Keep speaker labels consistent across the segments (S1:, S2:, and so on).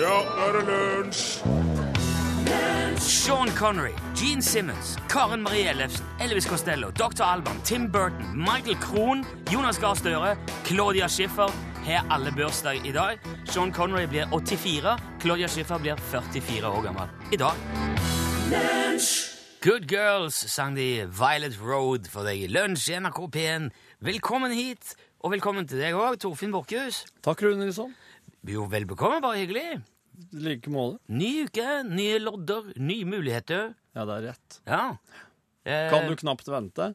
S1: Ja, nå er det lunsj!
S2: Sean Connery, Gene Simmons, Karen Marie Ellefsen, Elvis Costello, Dr. Alban, Tim Burton, Michael Krohn, Jonas Gahr Støre, Claudia Schiffer har alle bursdag i dag. Sean Connery blir 84, Claudia Schiffer blir 44 år gammel i dag. Good Girls sang de Violet Road for deg i lunsj i NRK P1. Velkommen hit, og velkommen til deg òg, Torfinn Borchhus.
S3: Takk, Rune Nilsson.
S2: Jo, vel bekomme, bare hyggelig.
S3: I like måte.
S2: Ny uke, nye lodder, nye muligheter.
S3: Ja, det er rett.
S2: Ja. Eh,
S3: Kan du knapt vente?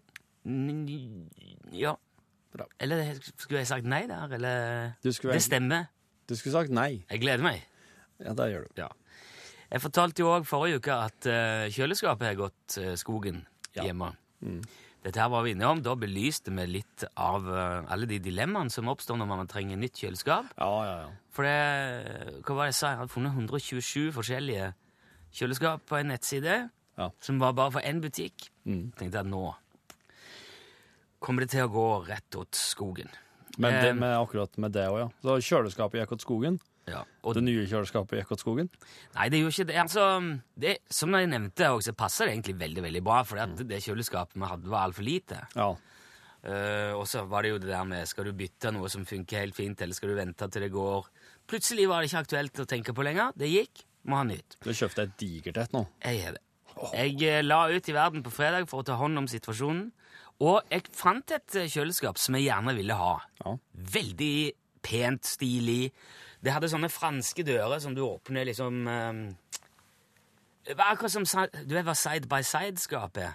S2: N- Ja.
S3: Bra.
S2: Eller skulle jeg sagt nei der? Eller
S3: Du skulle,
S2: Det
S3: egentlig-
S2: stemmer.
S3: du skulle sagt nei.
S2: Jeg gleder meg.
S3: Ja, det gjør du.
S2: Jeg fortalte jo òg forrige uke at eh, kjøleskapet har gått eh, skogen
S3: Ja. Mm.
S2: hjemme. Dette her var vi inne om. Da belyste vi litt av eh, alle de dilemmaene som oppstår når man trenger nytt kjøleskap.
S3: Ja, ja, ja.
S2: For det, hva var det jeg sa? Jeg hadde funnet 127 forskjellige kjøleskap på en nettside
S3: Ja.
S2: som var bare for én butikk. Tenkte jeg nå kommer det til å gå rett åt skogen.
S3: Men det
S2: Eh,
S3: med, akkurat med det òg, ja. Så kjøleskapet gikk åt skogen.
S2: Ja. Og
S3: Det nye kjøleskapet gikk åt skogen.
S2: Nei, det er jo ikke det. Altså, det som jeg nevnte, også, så passer det egentlig veldig veldig bra, for det kjøleskapet vi hadde, var altfor lite.
S3: Ja.
S2: Eh, og så var det jo det der med skal du bytte noe som funker helt fint, eller skal du vente til det går Plutselig var det ikke aktuelt å tenke på lenger. Det gikk. Må ha nytt.
S3: Du kjøpte et digert et nå.
S2: Jeg er det. Jeg eh, la ut i verden på fredag for å ta hånd om situasjonen, og jeg fant et eh, kjøleskap som jeg gjerne ville ha.
S3: Ja.
S2: Veldig pent, stilig. Det hadde sånne franske dører som du åpner liksom um, Det var akkurat som si- Du vet hva side-by-side-skap er?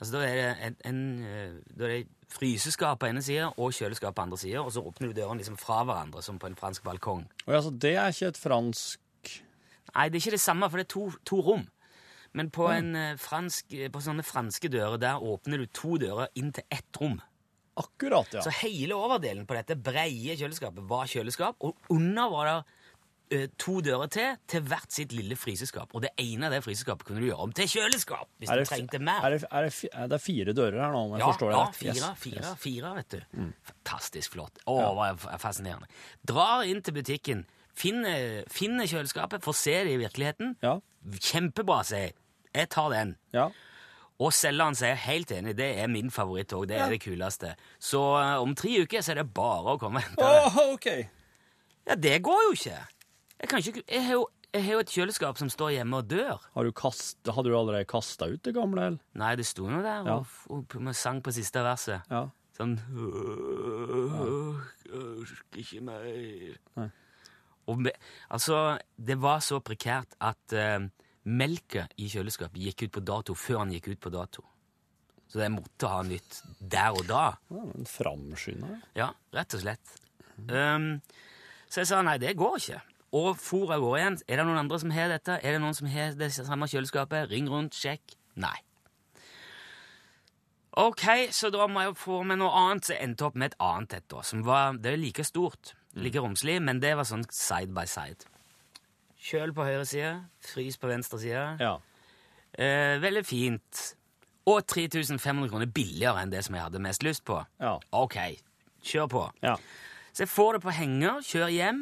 S2: Altså, Da er det en, en eh, da er det fryseskap på ene sida og kjøleskap på andre sida, og så åpner du dørene liksom fra hverandre, som på en fransk balkong.
S3: Og ja, så det er ikke et fransk
S2: Nei, det er ikke det samme, for det er to, to rom. Men på, en, eh, fransk, eh, på sånne franske dører der åpner du to dører inn til ett rom.
S3: Akkurat, ja.
S2: Så hele overdelen på dette breie kjøleskapet var kjøleskap, og under var det eh, to dører til til hvert sitt lille fryseskap. Og det ene av det fryseskapet kunne du gjøre om til kjøleskap hvis
S3: Er
S2: du
S3: det, fi-
S2: trengte mer.
S3: er det, er det, fi- er det fire dører her nå, om jeg
S2: ja,
S3: forstår det
S2: ja,
S3: rett?
S2: fire,
S3: Yes, Mm.
S2: fire,
S3: yes.
S2: fire, vet du. Fantastisk flott. Å, hva f- fascinerende. Drar inn til butikken, finner, finner kjøleskapet, får se det i virkeligheten.
S3: Ja,
S2: Kjempebra, sier jeg. Jeg tar den.
S3: ja.
S2: Og selgeren sier helt enig, det er min favoritt òg. Det er det kuleste. Så eh, om tre uker så er det bare å komme og hente det.
S3: ok.
S2: Ja, det går jo ikke. Jeg, kan ikke, jeg, har jo, jeg har jo et kjøleskap som står hjemme og dør.
S3: Har du kast, hadde du allerede kasta ut det gamle, eller?
S2: Nei, det sto nå der
S3: Ja.
S2: og, og, og sang på siste verset.
S3: Ja.
S2: Sånn «Åh, Orker ikke mer.
S3: Nei.
S2: Og me, altså, det var så prekært at uh, melka i kjøleskapet gikk ut på dato før den gikk ut på dato. Så jeg måtte ha nytt der og da.
S3: Ja, men framskynda, ja.
S2: Ja, rett og slett. Um, så jeg sa nei, det går ikke. Og for av gårde igjen. Er det noen andre som har dette? Er det noen som har det samme kjøleskapet? Ring rundt, sjekk. Nei. Ok, så da må jeg jo få med noe annet. Så jeg endte opp med et annet et, da. Som var, det er like stort, like romslig, men det var sånn side by side. Kjøl på høyre side, frys på venstre side.
S3: ja.
S2: Eh, veldig fint. Og 3500 kroner billigere enn det som jeg hadde mest lyst på.
S3: Ja.
S2: Ok, kjør på.
S3: Ja.
S2: Så jeg får det på henger, kjører hjem,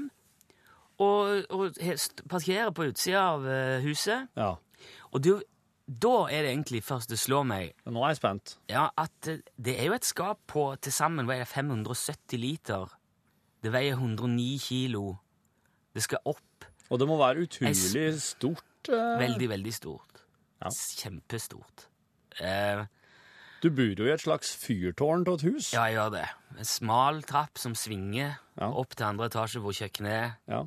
S2: og, og he- st- parkerer på utsida av eh, huset.
S3: ja.
S2: Og du, da er det egentlig først det slår meg
S3: Men Nå er jeg spent.
S2: ja, at eh, det er jo et skap på til sammen hva er det, 570 liter. Det veier 109 kilo. Det skal opp.
S3: Og det må være utrolig
S2: Jeg
S3: stort. eh,
S2: Veldig, veldig stort.
S3: Ja.
S2: Kjempestort. Eh,
S3: Du bor jo i et slags fyrtårn av et hus.
S2: Ja, jeg gjør det. En smal trapp som svinger
S3: Ja.
S2: opp til andre etasje hvor kjøkkenet er.
S3: Ja.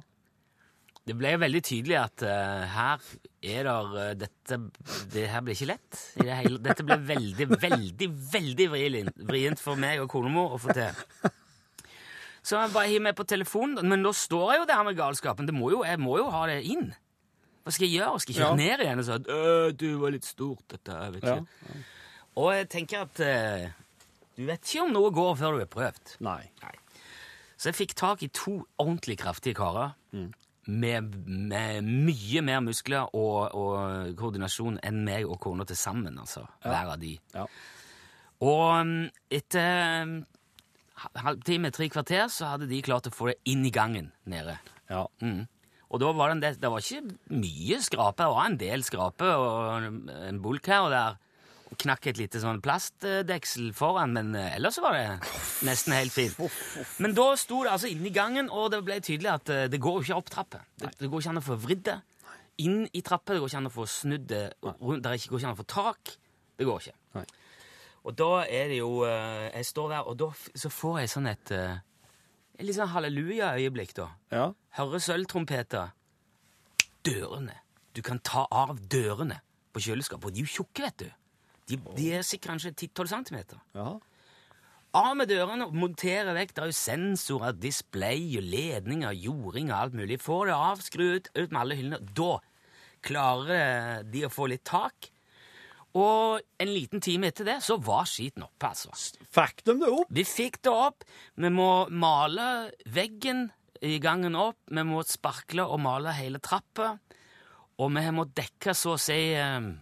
S2: Det ble jo veldig tydelig at eh, her er der eh, dette, det her blir ikke lett. I det hele, dette ble veldig, veldig, veldig vrien- vrient for meg og konemor å få til. Så jeg bare hiver meg på telefonen, men da står jeg jo der med galskapen. Det må jo, jeg må jo ha det inn. Hva skal jeg gjøre? Skal jeg
S3: Ja.
S2: kjøre ned igjen og si at «Øh, du var litt stort, dette her, vet
S3: Ja.
S2: ikke. Og jeg tenker at eh, du vet ikke om noe går før du har prøvd.
S3: Nei.
S2: Så jeg fikk tak i to ordentlig kraftige karer med, med mye mer muskler og, og koordinasjon enn meg og kona til sammen, altså. Hver av de.
S3: Ja.
S2: Og mm, etter mm, halvtime, tre kvarter, så hadde de klart å få det inn i gangen nede.
S3: Ja.
S2: Mm. Og da var det, en del, det var ikke mye skrape, det var en del skrape og en- en bulk her og der. Og Knakk et lite sånn plastdeksel foran, men eh, ellers så var det nesten helt fint. Men da sto det altså inne i gangen, og det ble tydelig at eh, det går jo ikke opp trappa. Det, det går ikke an å få vridd det inn i trappa, det går ikke an å få snudd det rundt, det er ikke- går ikke an å få tak. Det går ikke.
S3: Nei.
S2: Og da er det jo eh, Jeg står der, og da f- så får jeg sånn et eh, et litt sånn halleluja-øyeblikk, da.
S3: Ja.
S2: Hører sølvtrompeter. Dørene. Du kan ta av dørene på kjøleskapet. Og de er jo tjukke, vet du. De, de er sikkert kanskje 10-12 centimeter.
S3: ja.
S2: Av med dørene og montere vekk. Det er jo sensorer, display, og ledninger, jording og alt mulig. Få det av, skru ut, ut med alle hyllene. Da klarer de å få litt tak. Og en liten time etter det så var skiten oppe, altså.
S3: Fikk de det opp?
S2: Vi fikk det opp. Vi må male veggen i gangen opp. Vi må sparkle og male hele trappa. Og vi har måttet dekke så å si eh,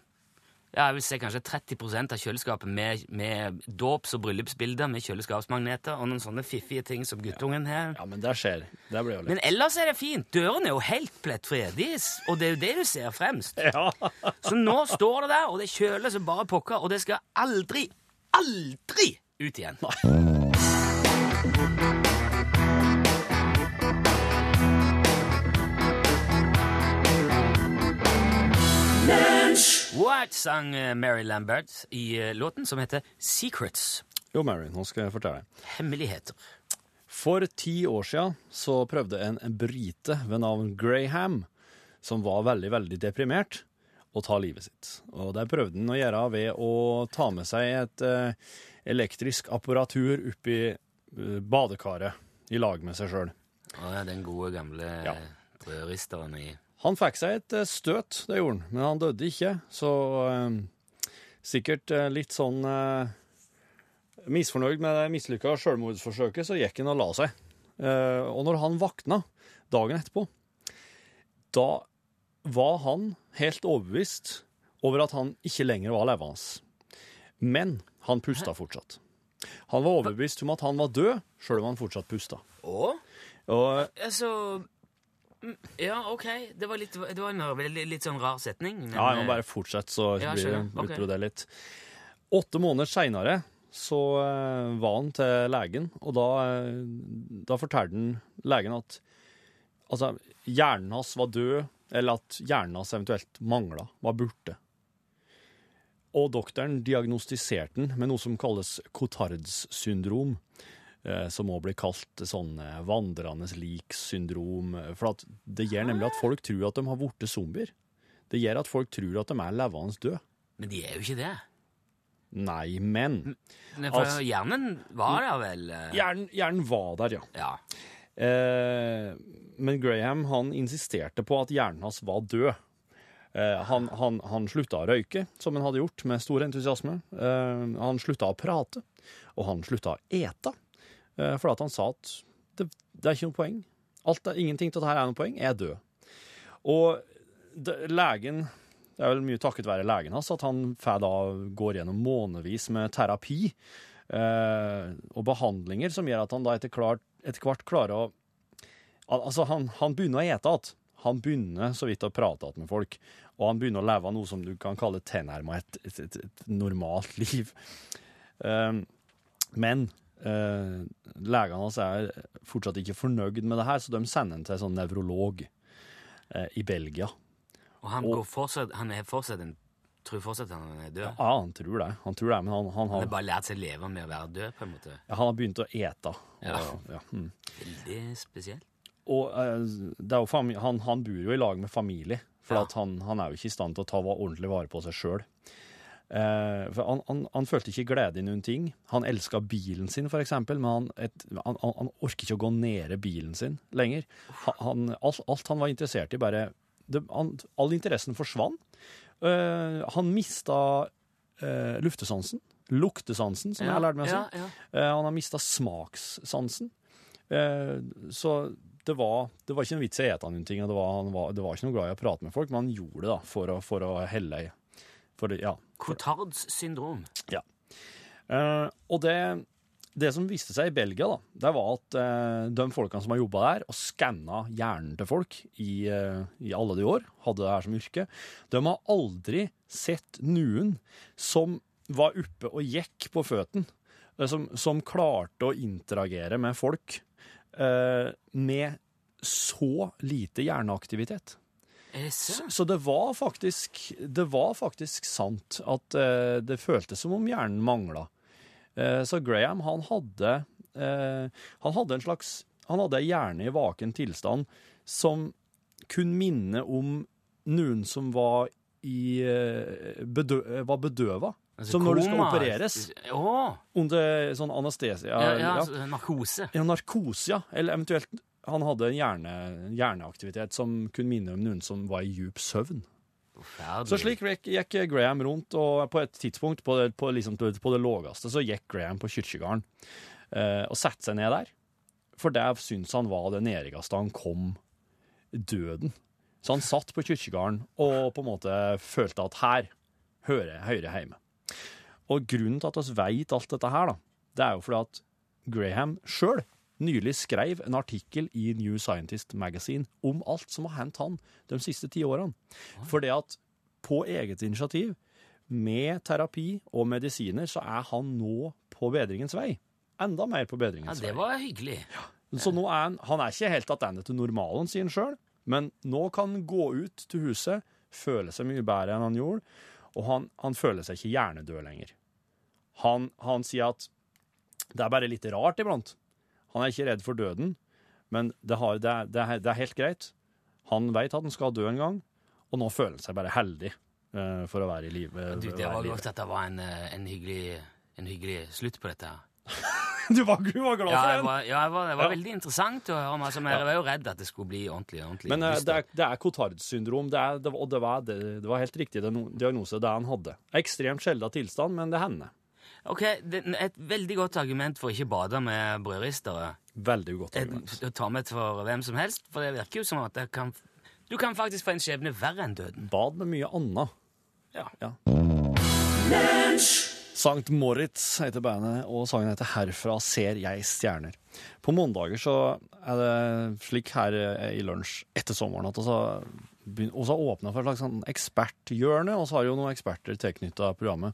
S2: ja, jeg vil si kanskje 30 av kjøleskapet med, med dåps- og bryllupsbilder med kjøleskapsmagneter og noen sånne fiffige ting som guttungen har.
S3: Ja, men det skjer. Det blir jo litt
S2: Men ellers er det fint. Dørene er jo helt plettfrie. De er s- Og det er jo det du ser fremst.
S3: Ja.
S2: Så nå står det der, og det kjøler som bare pokker, og det skal aldri, aldri ut igjen. What sang eh, Mary Lambert i eh, låten som heter Secrets,
S3: Jo, Mary, nå skal jeg fortelle deg.
S2: hemmeligheter.
S3: For ti år siden så prøvde en brite ved navn Graham, som var veldig, veldig deprimert, å ta livet sitt. Og det prøvde han å gjøre ved å ta med seg et eh, elektrisk apparatur opp i eh, badekaret i lag med seg sjøl.
S2: Å ja, den gode gamle
S3: Ja.
S2: rødristeren i
S3: Han fikk seg et eh, støt, det gjorde han, men han døde ikke, så eh, sikkert eh, litt sånn eh, misfornøyd med det mislykka sjølmordsforsøket, så gikk han og la seg. Eh, og når han vakna dagen etterpå, da var han helt overbevist over at han ikke lenger var levende. Men han pusta fortsatt. Han var overbevist om at han var død, sjøl om han fortsatt pusta.
S2: Å?
S3: Og
S2: Altså mm, Ja, OK. Det var, litt, det var en veldig- litt sånn rar setning. men,
S3: Ja, jeg må
S2: eh,
S3: bare fortsette, så
S2: Ja,
S3: blir det
S2: skjønner. Ok.
S3: utbrudd det litt. Åtte måneder seinere så eh, var han til legen, og da, eh, da fortalte han legen at altså, hjernen hans var død, eller at hjernen hans eventuelt mangla, var borte. Og doktoren diagnostiserte den med noe som kalles Cotards syndrom, eh, som òg blir kalt sånn eh, vandrende lik-syndrom, eh, for at det gjør nemlig at folk tror at de har blitt zombier. Det gjør at folk tror at de er levende døde.
S2: Men de er jo ikke det.
S3: Nei, men
S2: Men for
S3: Altså-
S2: hjernen var der vel eh,
S3: hjernen, hjernen var der, ja.
S2: ja.
S3: Eh, men Graham han insisterte på at hjernen hans var død. Eh, han, han, han slutta å røyke, som han hadde gjort, med stor entusiasme. Eh, han slutta å prate, og han slutta å ete. Eh, for at han sa at det, det er ikke noe poeng. Alt er, ingenting til dette her er noe poeng. Jeg er død. Og det, legen Det er vel mye takket være legen hans at han får da går gjennom månedsvis med terapi eh, og behandlinger som gjør at han da etter, klart, etter hvert klarer å Al altså, han, han begynner å ete igjen. Han begynner så vidt å prate igjen med folk, og han begynner å leve noe som du kan kalle tilnærma et, et, et, et normalt liv. Ehm, men uh, legene hans er fortsatt ikke fornøyd med det her, så de sender han til en sånn nevrolog eh, i Belgia.
S2: Og han, går fortsatt, han er fortsatt en, tror fortsatt han er død.
S3: Ja, han tror det, han tror det, men han, han,
S2: Han
S3: har,
S2: har bare lært seg å leve med å være død, på en måte.
S3: han har begynt å ete.
S2: Ja.
S3: Og, ja. Mm.
S2: Veldig spesielt.
S3: Og eh, det er jo fami- han, han bor jo i lag med familie, for
S2: Ja.
S3: at han, han er jo ikke i stand til å ta va- ordentlig vare på seg sjøl. Eh, for han, han, han følte ikke glede i noen ting. Han elska bilen sin, for eksempel, men han, et, han, han, han orker ikke å gå nede bilen sin lenger. Han, han, alt, alt han var interessert i, bare det, han, All interessen forsvant. Eh, han mista eh, luftesansen. Luktesansen, som jeg har lært meg å si.
S2: ja, ja.
S3: Eh, Han har mista smakssansen. Eh, Så det var, det var ikke noen vits i å ete noen ting, og det var, han var, det var ikke noe glad i å prate med folk, men han gjorde det da, for å, for å helle i. For, det- ja.
S2: Cotards syndrom.
S3: Eh, Og det det som viste seg i Belgia, da, det var at eh, de folkene som har jobba der og skanna hjernen til folk i, eh, i alle de år, hadde det her som yrke, de har aldri sett noen som var oppe og gikk på føttene, eh, som, som klarte å interagere med folk eh, med så lite hjerneaktivitet.
S2: Er det sant?
S3: Så det var faktisk, det var faktisk sant at eh, det føltes som om hjernen mangla. Eh, så Graham, han hadde, eh, han hadde en slags Han hadde ei hjerne i vaken tilstand som kunne minne om noen som var i eh, bedø var bedøva.
S2: Altså,
S3: som når du skal
S2: koma-
S3: opereres
S2: Å!
S3: under sånn anestesia
S2: ja, ja,
S3: ja.
S2: altså, narkose.
S3: Ja, narkose, ja. Eller eventuelt han hadde en hjerne, hjerneaktivitet som kunne minne om noen som var i djup søvn.
S2: Forferdelig.
S3: Så slik gikk- gikk Graham rundt, og på et tidspunkt, på det, på liksom, på det lågeste, så gikk Graham på kirkegarden eh, og satte seg ned der. For det syntes han var det nærmeste han kom døden. Så han satt på kirkegarden og på en måte følte at her hører jeg hører jeg hjemme. Og grunnen til at vi veit alt dette her, da, det er jo fordi at Graham sjøl nylig skrev en artikkel i New Scientist Magazine om alt som har hendt han de siste ti årene. For det at på eget initiativ, med terapi og medisiner, så er han nå på bedringens vei. Enda mer på
S2: Ja,
S3: bedringens
S2: det
S3: vei.
S2: var hyggelig.
S3: Så nå er han, han er ikke helt tilbake til normalen sin sjøl, men nå kan han gå ut til huset, føle seg mye bedre enn han gjorde, og han, han føler seg ikke hjernedød lenger. Han, han sier at det er bare litt rart iblant. Han er ikke redd for døden, men det, har, det, er, det, er, det er helt greit. Han veit at han skal dø en gang, og nå føler han seg bare heldig eh, for å være i live.
S2: Du, det var godt at det var en, eh, en, hyggelig, en hyggelig slutt på dette. her.
S3: Du var, du var glad
S2: Ja,
S3: for
S2: jeg
S3: den!
S2: var, altså, ja jeg var, det var
S3: Ja.
S2: veldig interessant å høre om. Altså, men jeg var jo redd at det skulle bli ordentlig ordentlig.
S3: Men eh,
S2: dyster.
S3: det er, det er Cotard-syndrom, det er, det, var- og det var, det, det var helt riktig den diagnose det han hadde. Ekstremt sjelda tilstand, men det hender.
S2: Ok, det, Et veldig godt argument for å ikke bade med brødristere.
S3: Veldig godt
S2: Et-
S3: argument.
S2: Å ta med for hvem som helst, for det virker jo som at det kan, du kan faktisk få en skjebne verre enn døden.
S3: Bad med mye anna.
S2: Ja.
S3: Sankt Moritz heter bandet, og sangen heter 'Herfra ser jeg stjerner'. På mandager så er det slik her eh, i lunsj etter sommeren at vi har begynt- oss har åpna for et slags sånn eksperthjørne, og så har jo noen eksperter tilknytta programmet.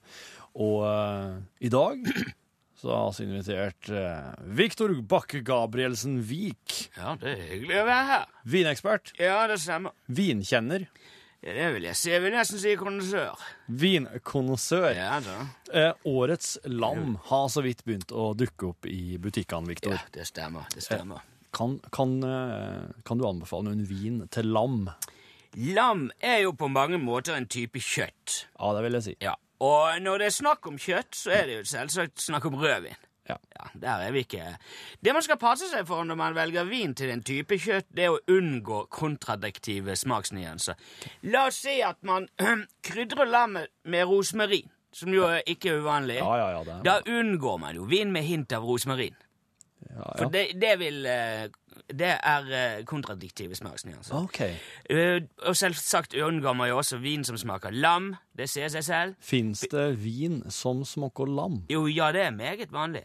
S3: Og eh, i dag så har vi invitert uh, Viktor Bakke Gabrielsen Vik,
S2: Ja, det er hyggelig å være her.
S3: vinekspert,
S2: Ja, det stemmer.
S3: vinkjenner,
S2: Ja, det vil jeg si. Jeg vil nesten si kondisør.
S3: vinkonnissør.
S2: Ja da.
S3: Eh, årets lam har så vidt begynt å dukke opp i butikkene, Viktor.
S2: Ja, det stemmer. Det stemmer.
S3: Kan, kan, eh, kan du anbefale noen vin til lam?
S2: Lam er jo på mange måter en type kjøtt.
S3: Ja, det vil jeg si.
S2: Ja. Og når det er snakk om kjøtt, så er det jo selvsagt snakk om rødvin.
S3: Ja.
S2: Ja, Der er vi ikke. Det man skal passe seg for når man velger vin til en type kjøtt, det er å unngå kontradiktive smaksnyanser. La oss si at man krydrer lammet med rosmarin, som jo er ikke er uvanlig.
S3: Ja, ja, ja, det er-
S2: Da unngår man jo vin med hint av rosmarin. For det, det vil eh, Det er eh, kontradiktive smaksnyanser.
S3: OK.
S2: Eh, Og selvsagt unngår man jo også vin som smaker lam. Det sier seg selv.
S3: Fins det vin som smaker lam?
S2: Jo, ja, det er meget vanlig.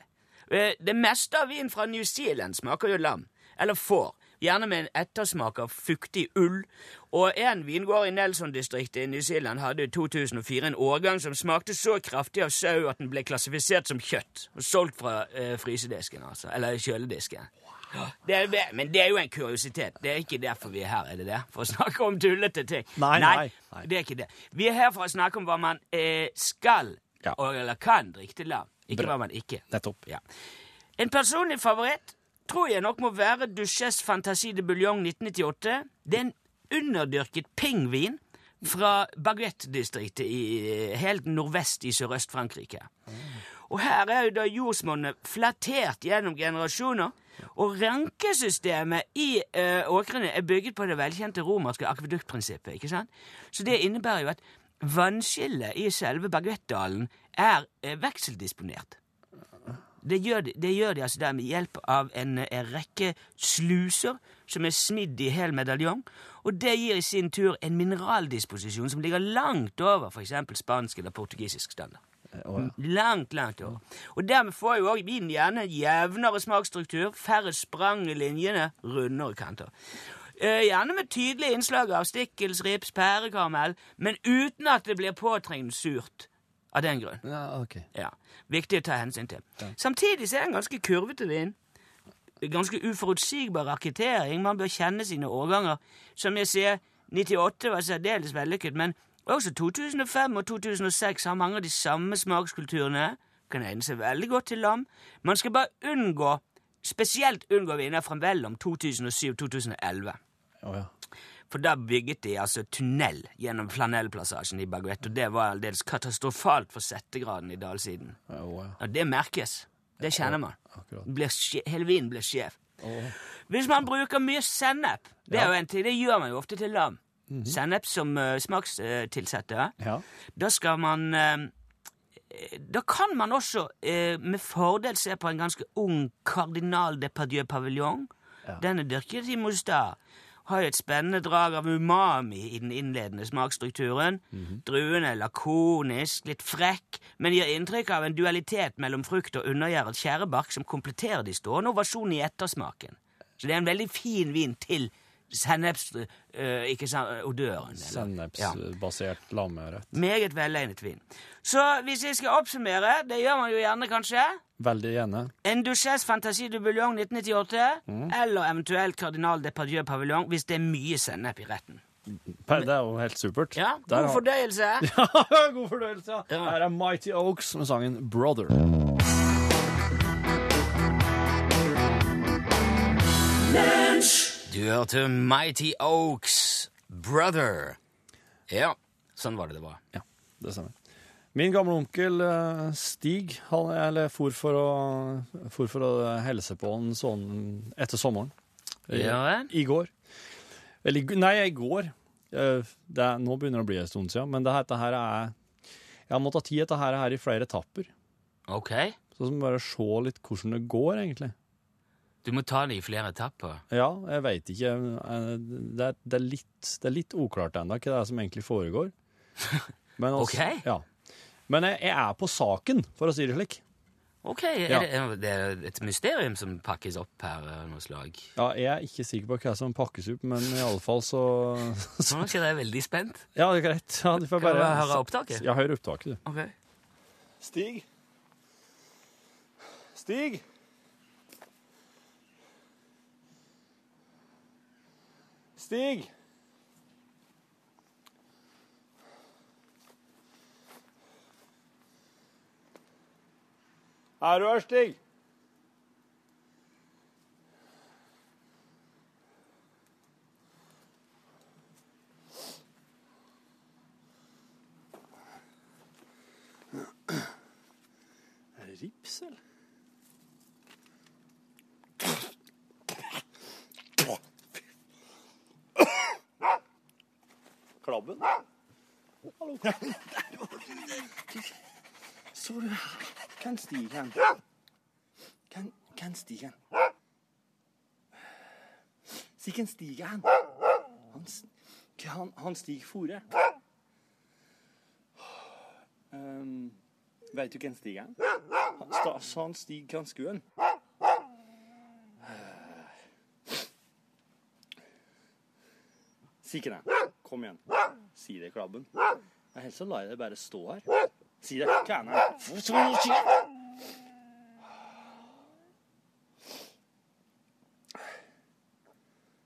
S2: Eh, Det meste av vin fra New Zealand smaker jo lam, eller får, gjerne med en ettersmak av fuktig ull. Og en vingård i Nelson-distriktet i New Zealand hadde i 2004 en årgang som smakte så kraftig av sau at den ble klassifisert som kjøtt, og solgt fra eh, frysedisken, altså, eller kjøledisken. Det er, men det er jo en kuriositet. Det er ikke derfor vi er her, er det det? For å snakke om tullete ting.
S3: Nei, nei, nei.
S2: Det er ikke det. Vi er her for å snakke om hva man eh, skal
S3: Ja.
S2: og, eller kan drikke til lam. Ikke
S3: Bra.
S2: hva man ikke.
S3: Nettopp.
S2: Ja. En personlig favoritt tror jeg nok må være Duchesse Fantasie de Bouillon 1998. Det er en underdyrket pingvin fra Baguette-distriktet i eh, helt nordvest i Sørøst-Frankrike. Og her er jo da jordsmonnet flattert gjennom generasjoner, og rankesystemet i eh, åkrene er bygget på det velkjente romerske akveduktprinsippet, ikke sant? Så det innebærer jo at vannskillet i selve Baguettdalen er eh, vekseldisponert. Det gjør de, det gjør de altså der med hjelp av en, eh, rekke sluser som er smidd i hel medaljong, og det gir i sin tur en mineraldisposisjon som ligger langt over for eksempel spansk eller portugisisk standard.
S3: Eh, Å,
S2: Langt, langt over. Og dermed får jo òg min hjerne en jevnere smaksstruktur, færre sprang i linjene, rundere kanter. Eh, Gjerne med tydelige innslag av stikkels, rips, pærekarmel, men uten at det blir påtrengt surt av den grunn.
S3: ja. ok.
S2: Ja, Viktig å ta hensyn til. Samtidig så er det en ganske kurvete vin. Ganske uforutsigbar rakettering. Man bør kjenne sine årganger. Som jeg sier, 98 var særdeles vellykket, men også 2005 og 2006 har mange av de samme smakskulturene. Kan egne seg veldig godt til lam. Man skal bare unngå, spesielt unngå viner fra mellom 2007-2011.
S3: Å, ja.
S2: For da bygget de altså tunnel gjennom flanellplassasjen i Baguette, og det var aldeles katastrofalt for settegraden i dalsiden.
S3: Ja, å, ja.
S2: Ja, det merkes. Det kjenner man.
S3: Akkurat.
S2: Blir skje- Hele vinen blir skjev.
S3: Å.
S2: Hvis man bruker mye sennep, det, er jo en ting, det gjør man jo ofte til lam, sennep som uh, smakstilsetter,
S3: Ja.
S2: da skal man eh, Da kan man også eh, med fordel se på en ganske ung kardinal de Pardieu Pavillon.
S3: Ja.
S2: Den er dyrket i Mostar. Har jo et spennende drag av umami i den innledende smaksstrukturen. Druen er lakonisk, litt frekk, men gir inntrykk av en dualitet mellom frukt og undergjæret skjærebark som kompletterer de stående ovasjon i ettersmaken. Så det er en veldig fin vin til senneps... eh, ikke sant, odøren. eller- Ja.
S3: Sennepsbasert lammørett.
S2: Meget velegnet vin. Så hvis jeg skal oppsummere, det gjør man jo gjerne kanskje,
S3: Veldig gjerne.
S2: en Duchesse Fantasie du Bouillon 1998, eller eventuelt Kardinal de Pardieu Pavillon, hvis det er mye sennep i retten.
S3: Per, Det er jo helt supert.
S2: Ja,
S3: Der
S2: God
S3: har-
S2: fordøyelse!
S3: God fordøyelse, ja.
S2: Ja.
S3: Her er Mighty Oaks med sangen Brother.
S2: Du hørte Mighty Oaks Brother. Ja, sånn var det det var.
S3: Ja, det stemmer. Min gamle onkel eh, Stig han eller, for, for å, for for å helse på han sånn etter sommeren. I-
S2: Ja vel?
S3: I går. Eller i g- nei, i går. Eh, Det er, nå begynner det å bli en stund siden, men det her- dette her er Jeg har måttet gi dette her, her i flere etapper.
S2: Ok,
S3: Så som bare se litt hvordan det går, egentlig.
S2: du må ta det i flere etapper.
S3: Ja, jeg veit ikke. eh, Det er, det er, litt, det er litt uklart ennå hva det er som egentlig foregår. Men, altså,
S2: Ok.
S3: ja. Men jeg, jeg er på saken, for å si det slik.
S2: Ok, er
S3: Ja.
S2: det, er det er et mysterium som pakkes opp her av noe slag?
S3: Ja, jeg er ikke sikker på hva som pakkes opp, men i alle fall så
S2: Nå er Sånn jeg veldig spent.
S3: Ja, det er greit. Ja, du får
S2: Kan
S3: bare
S2: vi høre opptaket?
S3: Ja, hør opptaket, du.
S2: Ok.
S1: Stig? Stig? Stig? Er du her, Stig? Er det rips, eller? Klabben? Hallo, klabben. Så du Hvem Stig hen? Hvem- Hvem Stig hen? Si hvem Stig er hen. Han, s- hva han, han Stig Fore. Um, Veit du hvem Stig er? Han, sta, sa han Stig Kranskuen? Si ikke det. Kom igjen. Si det, klabben. Jeg helst så lar jeg deg bare stå her. Si det. Kærne.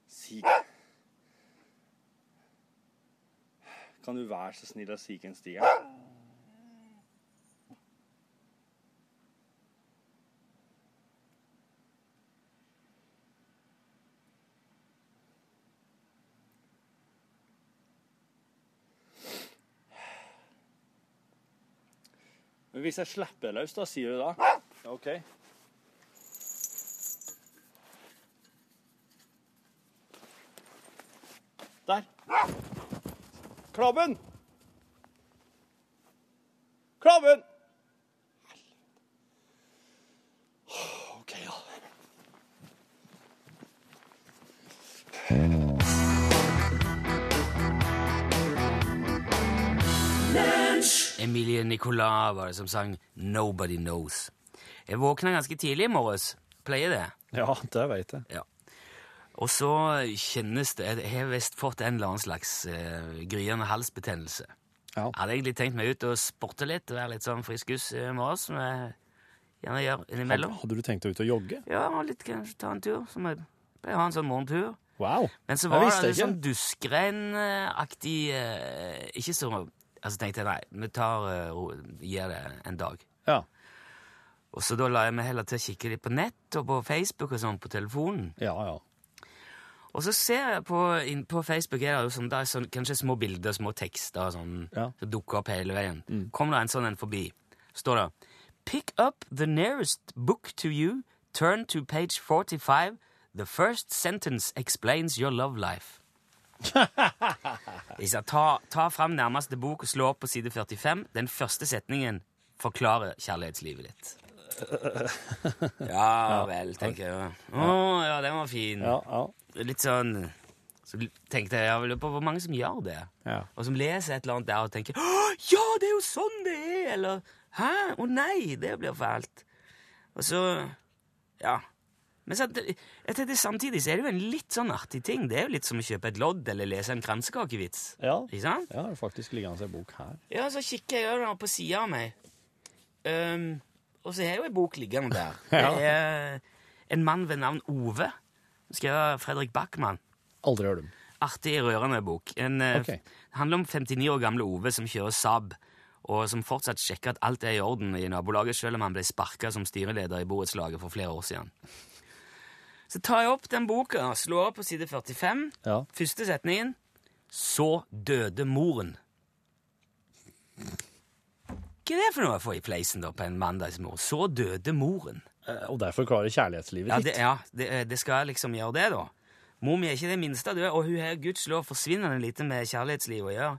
S1: Si Kan du være så snill å si hvem Stig er? Men hvis jeg slipper løs, da sier du da? OK. Der. Klabben! Klabben! Helvete. OK, ja.
S2: Emilie Nicolas var det som sang Nobody Knows. Jeg våkna ganske tidlig i morges. Pleier det.
S3: Ja, det vet jeg.
S2: Ja. Og så kjennes det Jeg har visst fått en eller annen slags eh, gryende halsbetennelse.
S3: Ja.
S2: Hadde egentlig tenkt meg ut og sporte litt, være litt sånn friskus i morgen, som jeg gjerne gjør
S3: Hadde,
S2: innimellom.
S3: hadde du tenkt deg ut og jogge?
S2: Ja, og litt kanskje ta en tur. Som jeg pleier å ha en sånn morgentur.
S3: Wow.
S2: Men så
S3: Jeg
S2: var
S3: visste
S2: det litt
S3: ikke.
S2: sånn duskregnaktig eh, Ikke så Altså tenkte jeg nei, vi tar eh, ro, gir det en dag.
S3: Ja.
S2: Og så da la jeg meg heller til å kikke litt på nett og på Facebook og sånn på telefonen.
S3: Ja, ja.
S2: Og så ser jeg på, inn på Facebook er det jo sånn, det er sånn, kanskje små bilder, små tekster og sånn,
S3: Ja. Mm.
S2: som dukker opp hele veien. Kom det en sånn en forbi, står det Pick up the nearest book to you, turn to page 45, the first sentence explains your love life. Jeg sa, ta, ta fram nærmeste bok og slå opp på side 45. Den første setningen forklarer kjærlighetslivet ditt. Ja vel, tenker jeg. Å ja, den var fin
S3: ja, ja.
S2: litt sånn Så tenkte jeg, jeg lurer på hvor mange som gjør det.
S3: Ja.
S2: Og som leser et eller annet der og tenker Å, ja, det er jo sånn det er! Eller Hæ? Å nei, det blir fælt. Og så Ja. Men så, jeg tenkte, samtidig så er det jo en litt sånn artig ting. Det er jo litt som å kjøpe et lodd eller lese en kransekakevits.
S3: Ja,
S2: Ikke sant?
S3: ja det er faktisk liggende en bok her.
S2: Ja, så kikker jeg over på sida av meg. Ehm, og så har jeg jo ei bok liggende der.
S3: Ja.
S2: Det er en mann ved navn Ove. Skrevet av Fredrik Backman.
S3: Aldri hørt om.
S2: Artig, rørende bok. En, eh,
S3: Ok.
S2: Det handler om 59 år gamle Ove som kjører Saab, og som fortsatt sjekker at alt er i orden i nabolaget, selv om han ble sparka som styreleder i borettslaget for flere år siden. Så tar jeg opp den boka, slår opp på side 45,
S3: Ja.
S2: første setningen Så døde moren. Hva er det for noe å få i fleisen da på en mandagsmorgen? Så døde moren.
S3: Eh, Og der forklarer kjærlighetslivet
S2: Ja,
S3: ditt.
S2: det, ja det, det skal liksom gjøre det, da. Mor mi er ikke det minste død, og hun har gudskjelov forsvinnende lite med kjærlighetslivet å gjøre.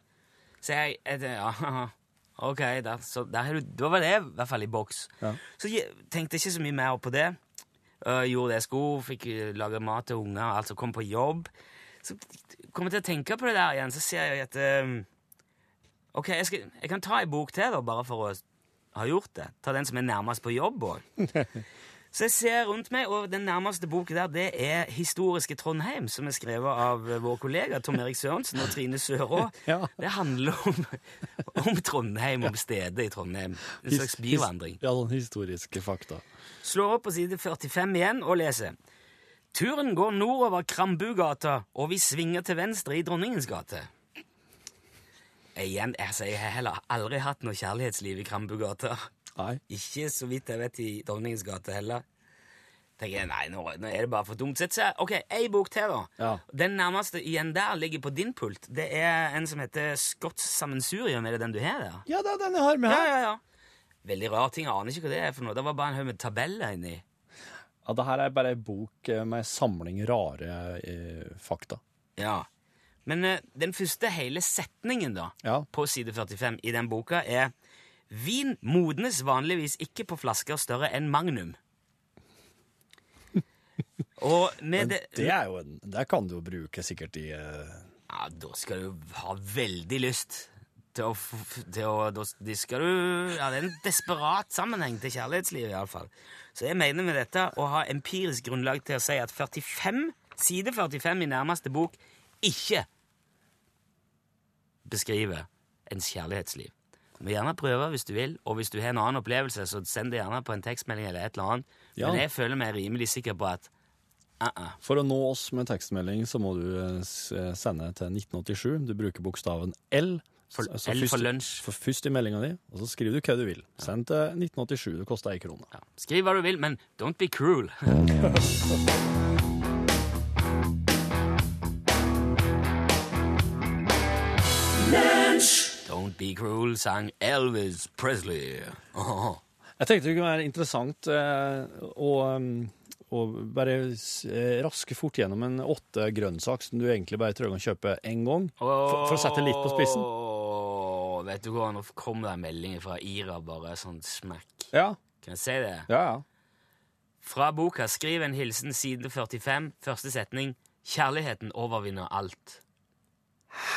S2: Så jeg, jeg tenkte, ja, ok, der, så der, har du- da var det i hvert fall i boks.
S3: Ja.
S2: Så jeg tenkte ikke så mye mer på det. Øh, gjorde det jeg skulle, fikk øh, lage mat til unger, altså kom på jobb. Så kom jeg til å tenke på det der igjen, så ser jeg at øhm, Ok, jeg, skal, jeg kan ta ei bok til, da, bare for å ha gjort det. Ta den som er nærmest på jobb òg. Så jeg ser rundt meg, og den nærmeste boken der, det er Historiske Trondheim, som er skrevet av eh, vår kollega Tom Erik Sørensen og Trine Sørå.
S3: Ja.
S2: Det handler om, om Trondheim, om stedet i Trondheim. En slags
S3: His-
S2: byvandring.
S3: his- Ja, sånn historiske fakta.
S2: Slår opp på side 45 igjen og leser. Turen går nordover Krambugata, og vi svinger til venstre i Dronningens gate. Igjen, altså, jeg har heller aldri hatt noe kjærlighetsliv i Krambugata.
S3: Nei.
S2: Ikke så vidt jeg vet i Dronningens gate heller. Tenker jeg, nei, nå, nå er det bare for dumt. Sett seg, ok, ei bok til da.
S3: Ja.
S2: Den nærmeste igjen der ligger på din pult. Det er en som heter Skotts Sammensurium, er det den du har der?
S3: Ja, det er den jeg har med
S2: Ja,
S3: her.
S2: ja, ja. Veldig rar ting, jeg aner ikke hva det er for noe. Det var bare en haug med tabeller inni.
S3: Ja, det her er bare ei bok eh, med en samling rare eh, fakta.
S2: Ja. Men eh, den første hele setningen da,
S3: Ja.
S2: på side 45 i den boka er Vin modnes vanligvis ikke på flasker større enn magnum. Og med det,
S3: Det er jo en Det kan du jo bruke sikkert i eh,
S2: Ja, da skal du ha veldig lyst til å, f- f- til å da, s- de skal du, ja, Det er en desperat sammenheng til kjærlighetslivet, iallfall. Så jeg mener med dette å ha empirisk grunnlag til å si at 45, side 45 i nærmeste bok ikke beskriver ens kjærlighetsliv. Du må gjerne prøve hvis du vil, og hvis du har en annen opplevelse, så send det gjerne på en tekstmelding eller et eller annet.
S3: Ja.
S2: Men jeg føler meg rimelig sikker på at uh-uh.
S3: For å nå oss med tekstmelding, så må du eh, s- eh, sende til 1987. Du bruker bokstaven L.
S2: For-
S3: Så- så
S2: L for
S3: først-
S2: lunsj.
S3: For først i meldinga di, og så skriver du hva du vil. Send til 1987. Det koster ei krone.
S2: Ja. Skriv hva du vil, men don't be cruel. Don't be cruel, sang Elvis Presley. Åh.
S3: Jeg tenkte det kunne være interessant eh, å, um, å bare s- eh, raske fort gjennom en åtte grønnsak som du egentlig bare trenger å kjøpe én gang, for, for å sette litt på spissen.
S2: Åh, Vet du hva, nå kom det en melding fra Ira, bare sånn smekk.
S3: Ja,
S2: Kan jeg si det?
S3: ja, ja.
S2: Fra boka Skriv en hilsen, side 45, første setning. Kjærligheten overvinner alt.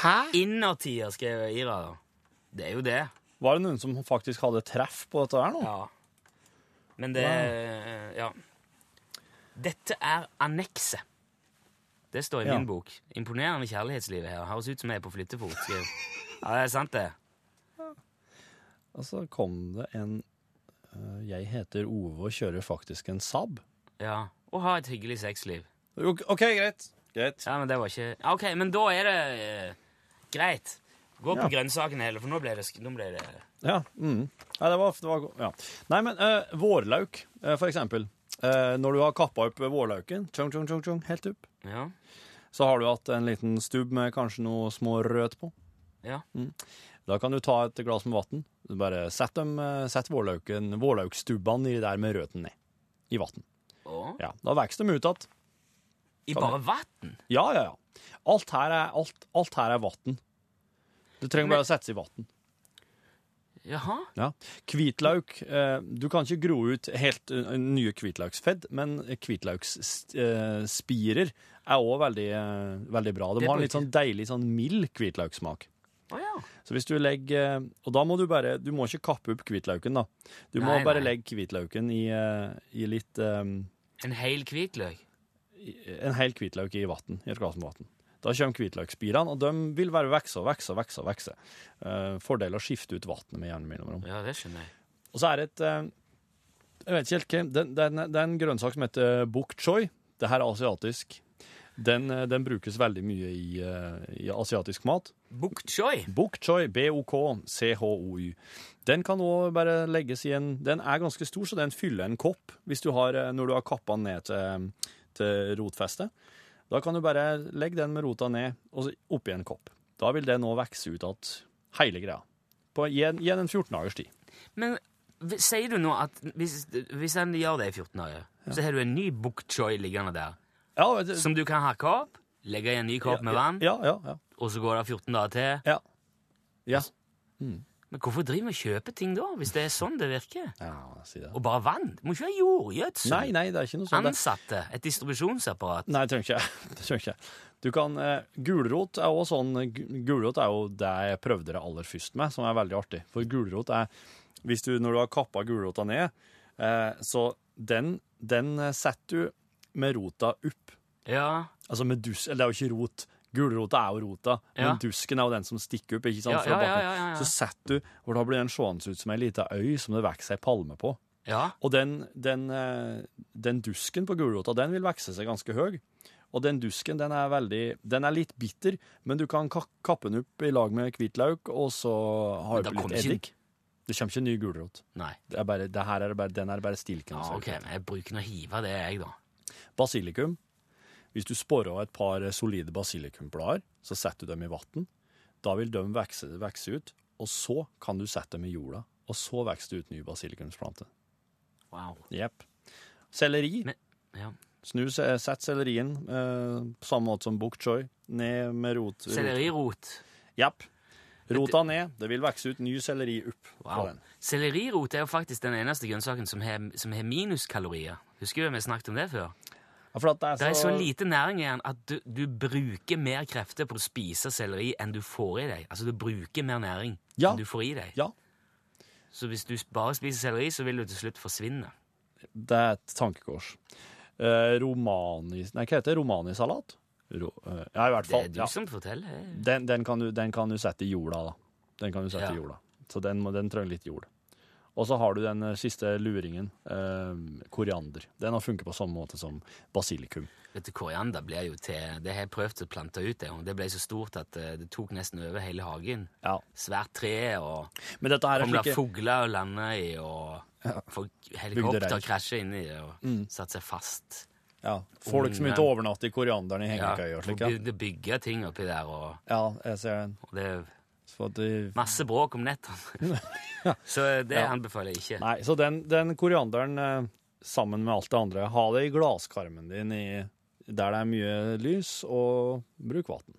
S2: Hæ? Innertier, skrev Ira. da. Det er jo det.
S3: Var det noen som faktisk hadde treff på dette her nå?
S2: Ja. Men det eh, Ja. Dette er annekset. Det står i
S3: Ja.
S2: min bok. Imponerende kjærlighetsliv her. Høres ut som jeg er på flyttefot. skrev. Ja, det er sant, det.
S3: Og så kom det en eh, Jeg heter Ove og kjører faktisk en Saab.
S2: Ja. Og ha et hyggelig sexliv.
S3: OK, greit. Greit.
S2: Ja, men det var ikke Ja, OK, men da er det eh, greit. Gå på
S3: Ja.
S2: grønnsakene heller, for nå ble det, sk- nå ble det
S3: Ja. Mm. Nei, det var, det var go- ja. Nei, men eh, vårlauk, eh, for eksempel. Eh, når du har kappa opp vårlauken, tjong, tjong, tjong, tjong, helt opp,
S2: Ja.
S3: så har du hatt en liten stubb med kanskje noe små rødt på.
S2: Ja.
S3: Da kan du ta et glass med vann. Bare sett, dem, eh, sett vårlauken, vårlaukstubbene i der med røten ned. I vann.
S2: Og
S3: Ja, da vokser de ut igjen.
S2: I bare vann?
S3: Ja, ja, ja. Alt her er, alt, alt her er vann. Du trenger
S2: Men-
S3: bare å sette seg i vann.
S2: Jaha?
S3: Ja. Hvitløk eh, Du kan ikke gro ut helt eh, nye hvitløksfedd, men hvitløksspirer er òg veldig, eh, veldig bra. De
S2: Det
S3: har en
S2: bruker
S3: litt sånn deilig, sånn mild hvitløkssmak.
S2: Å ja.
S3: Så hvis du legger eh, Og da må du bare Du må ikke kappe opp hvitløken, da. Du må
S2: Nei,
S3: bare
S2: nei.
S3: legge hvitløken i, eh, i litt eh,
S2: En hel hvitløk?
S3: i- en hel hvitløk i vann, i et glass med vann. Da kommer hvitløksspirene, og de vil bare vokse og vokse og vokse. og vokse. Eh, fordel å skifte ut vannet med jevne mellomrom.
S2: Ja, det skjønner jeg.
S3: Og så er det et eh, Jeg vet ikke helt hva det- det er en- Det er en grønnsak som heter eh, bok choy. Det her er asiatisk. Den, eh, den brukes veldig mye i, eh, i asiatisk mat.
S2: Bok choy?
S3: Bok choy, B-O-K-C-H-O-Y. Den kan også bare legges i en Den er ganske stor, så den fyller en kopp hvis du har, eh, når du har kappa den ned til, eh, til rotfestet. Da kan du bare legge den med rota ned og så oppi en kopp. Da vil det nå vokse ut igjen, hele greia. På, I en, i en 14 dagers tid.
S2: Men v- sier du nå at hvis, hvis en gjør det i 14 dager, så har du en ny bok choy liggende der,
S3: Ja, vet du-
S2: som du kan hakke opp, legge i en ny kopp med vann,
S3: Ja, ja, ja.
S2: og så går det 14 dager til.
S3: ja. ja.
S2: Men hvorfor driver vi og kjøper ting da, hvis det er sånn det virker?
S3: ja si det.
S2: Og bare vann? Det må ikke være jordgjødsel.
S3: Nei, nei, det er ikke noe sånt. Det-
S2: Ansatte. Et distribusjonsapparat.
S3: Nei, det trenger ikke jeg. Det trenger ikke jeg. Du kan, eh, gulrot er også sånn, gu- gulrot er jo det jeg prøvde det aller først med, som er veldig artig. For gulrot er, hvis du, når du har kappet gulrota ned, eh, så den, den eh, setter du med rota opp.
S2: Ja,
S3: Altså med dus, eller det er jo ikke rot. Gulrota er jo rota,
S2: Ja.
S3: men dusken er jo den som stikker opp, ikke sant?
S2: Ja,
S3: fra
S2: ja, ja,
S3: bakken.
S2: ja, ja, ja.
S3: Så setter du, og da blir den sjående ut som en liten øy som det vekser en palme på.
S2: ja.
S3: Og den, den, eh, den dusken på gulrota, den vil vokse seg ganske høy. Og den dusken, den er veldig Den er litt bitter, men du kan ka- kappe den opp i lag med hvitløk, og så ha
S2: Men da
S3: oppi litt
S2: kommer ikke-
S3: eddik. Det kommer ikke ny gulrot.
S2: Nei.
S3: Det er bare, det her er bare, den er bare stilken.
S2: Ja,
S3: altså.
S2: Ah, ok, men jeg bruker nå å hive det, jeg, da.
S3: Basilikum. Hvis du sporer av et par solide basilikumblader, så setter du dem i vann. Da vil de vokse, vokse ut, og så kan du sette dem i jorda. Og så vokser det ut ny basilikumsplante.
S2: Wow.
S3: Jepp. Selleri.
S2: Men- Ja.
S3: Snu, se- sett sellerien eh, på samme måte som bok choy, ned med rot.
S2: Sellerirot.
S3: rot- Japp. Rota ned. Det vil vokse ut ny selleri opp. fra
S2: Wow.
S3: den.
S2: Sellerirot er jo faktisk den eneste grønnsaken som har, som har minuskalorier. Husker du vi snakket om det før?
S3: Ja, for at det er så,
S2: Det er så lite næring i den at du, du bruker mer krefter på å spise selleri enn du får i deg. Altså, du bruker mer næring
S3: Ja.
S2: enn du får i deg.
S3: Ja,
S2: Så hvis du bare spiser selleri, så vil du til slutt forsvinne.
S3: det er et tankekors. Eh, romani... Nei, hva heter det? Romanisalat? Ro, eh, ja, i hvert
S2: Det
S3: fall.
S2: er du
S3: Ja.
S2: som forteller.
S3: Den, den, kan du, den kan du sette i jorda, da. Den kan du sette
S2: Ja.
S3: i jorda. Så den, må- den trenger litt jord. Og så har du den eh, siste luringen, eh, koriander. Den har funket på samme måte som basilikum.
S2: Vet du, Koriander ble jo til Det har jeg prøvd å plante ut, det, og det ble så stort at eh, det tok nesten over hele hagen.
S3: Ja.
S2: Svært tre, og
S3: Men dette her er
S2: kom det
S3: slike...
S2: fugler og landa i, og folk helikopter
S3: Bygdereir.
S2: krasja inn i det og
S3: Mm.
S2: satte seg fast.
S3: Ja, Folk som
S2: Ungen.
S3: ikke overnatter i korianderen i
S2: Ja,
S3: hengekøya og
S2: og
S3: slik. ja.
S2: bygde, bygge ting oppi der, og,
S3: Ja, jeg ser den.
S2: og det er
S3: Så, at de-
S2: masse bråk om nettene. så eh, det anbefaler jeg ikke.
S3: Nei, så den, den korianderen eh, sammen med alt det andre, ha det i glasskarmen din i, der det er mye lys, og bruk vann.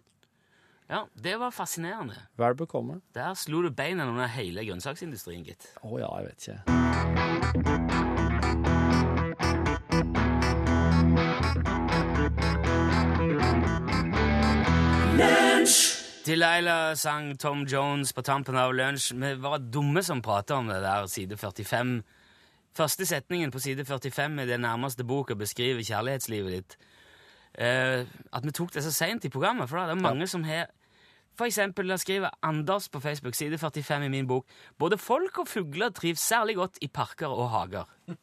S2: Ja, Det var fascinerende.
S3: Vel bekomme.
S2: Der slo du beina under hele grønnsaksindustrien, gitt.
S3: Å ja, jeg vet ikke.
S2: Delilah sang Tom Jones på tampen av lunsj. Vi var dumme som prata om det der, side 45. Første setningen på side 45 i den nærmeste boka beskriver kjærlighetslivet ditt. Eh, at vi tok det så seint i programmet, for da er det mange som har for eksempel, der skriver Anders på Facebook, side 45 i min bok, både folk og fugler trives særlig godt i parker og hager.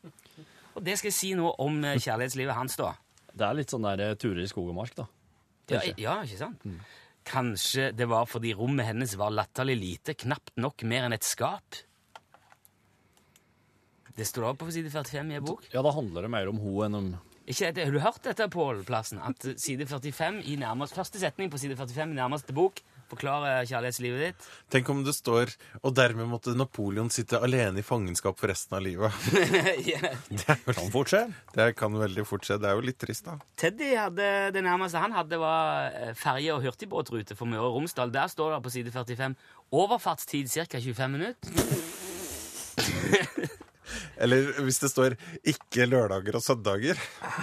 S2: Og det skal jeg si noe om eh, kjærlighetslivet hans, da.
S3: Det er litt sånn der eh, turer i skog og mark, da.
S2: Ja, ja, ikke sant? Kanskje det var fordi rommet hennes var latterlig lite, knapt nok mer enn et skap? Det står også på side 45 i en bok.
S3: Ja, da handler det mer om ho enn om
S2: Ikke dette, har du hørt dette, Pål Plassen? At side 45 i nærmest, første setning på side 45 i nærmeste bok forklarer kjærlighetslivet ditt?
S4: Tenk om det står Og dermed måtte Napoleon sitte alene i fangenskap for resten av livet.
S2: Ja.
S3: Kan fort skje.
S4: Det kan veldig fort skje. Det er jo litt trist, da.
S2: Teddy hadde det nærmeste han hadde, var eh, ferje- og hurtigbåtrute for Møre og Romsdal. Der står det på side 45 overfartstid ca. 25 minutter.
S4: Eller hvis det står 'ikke lørdager og søndager'.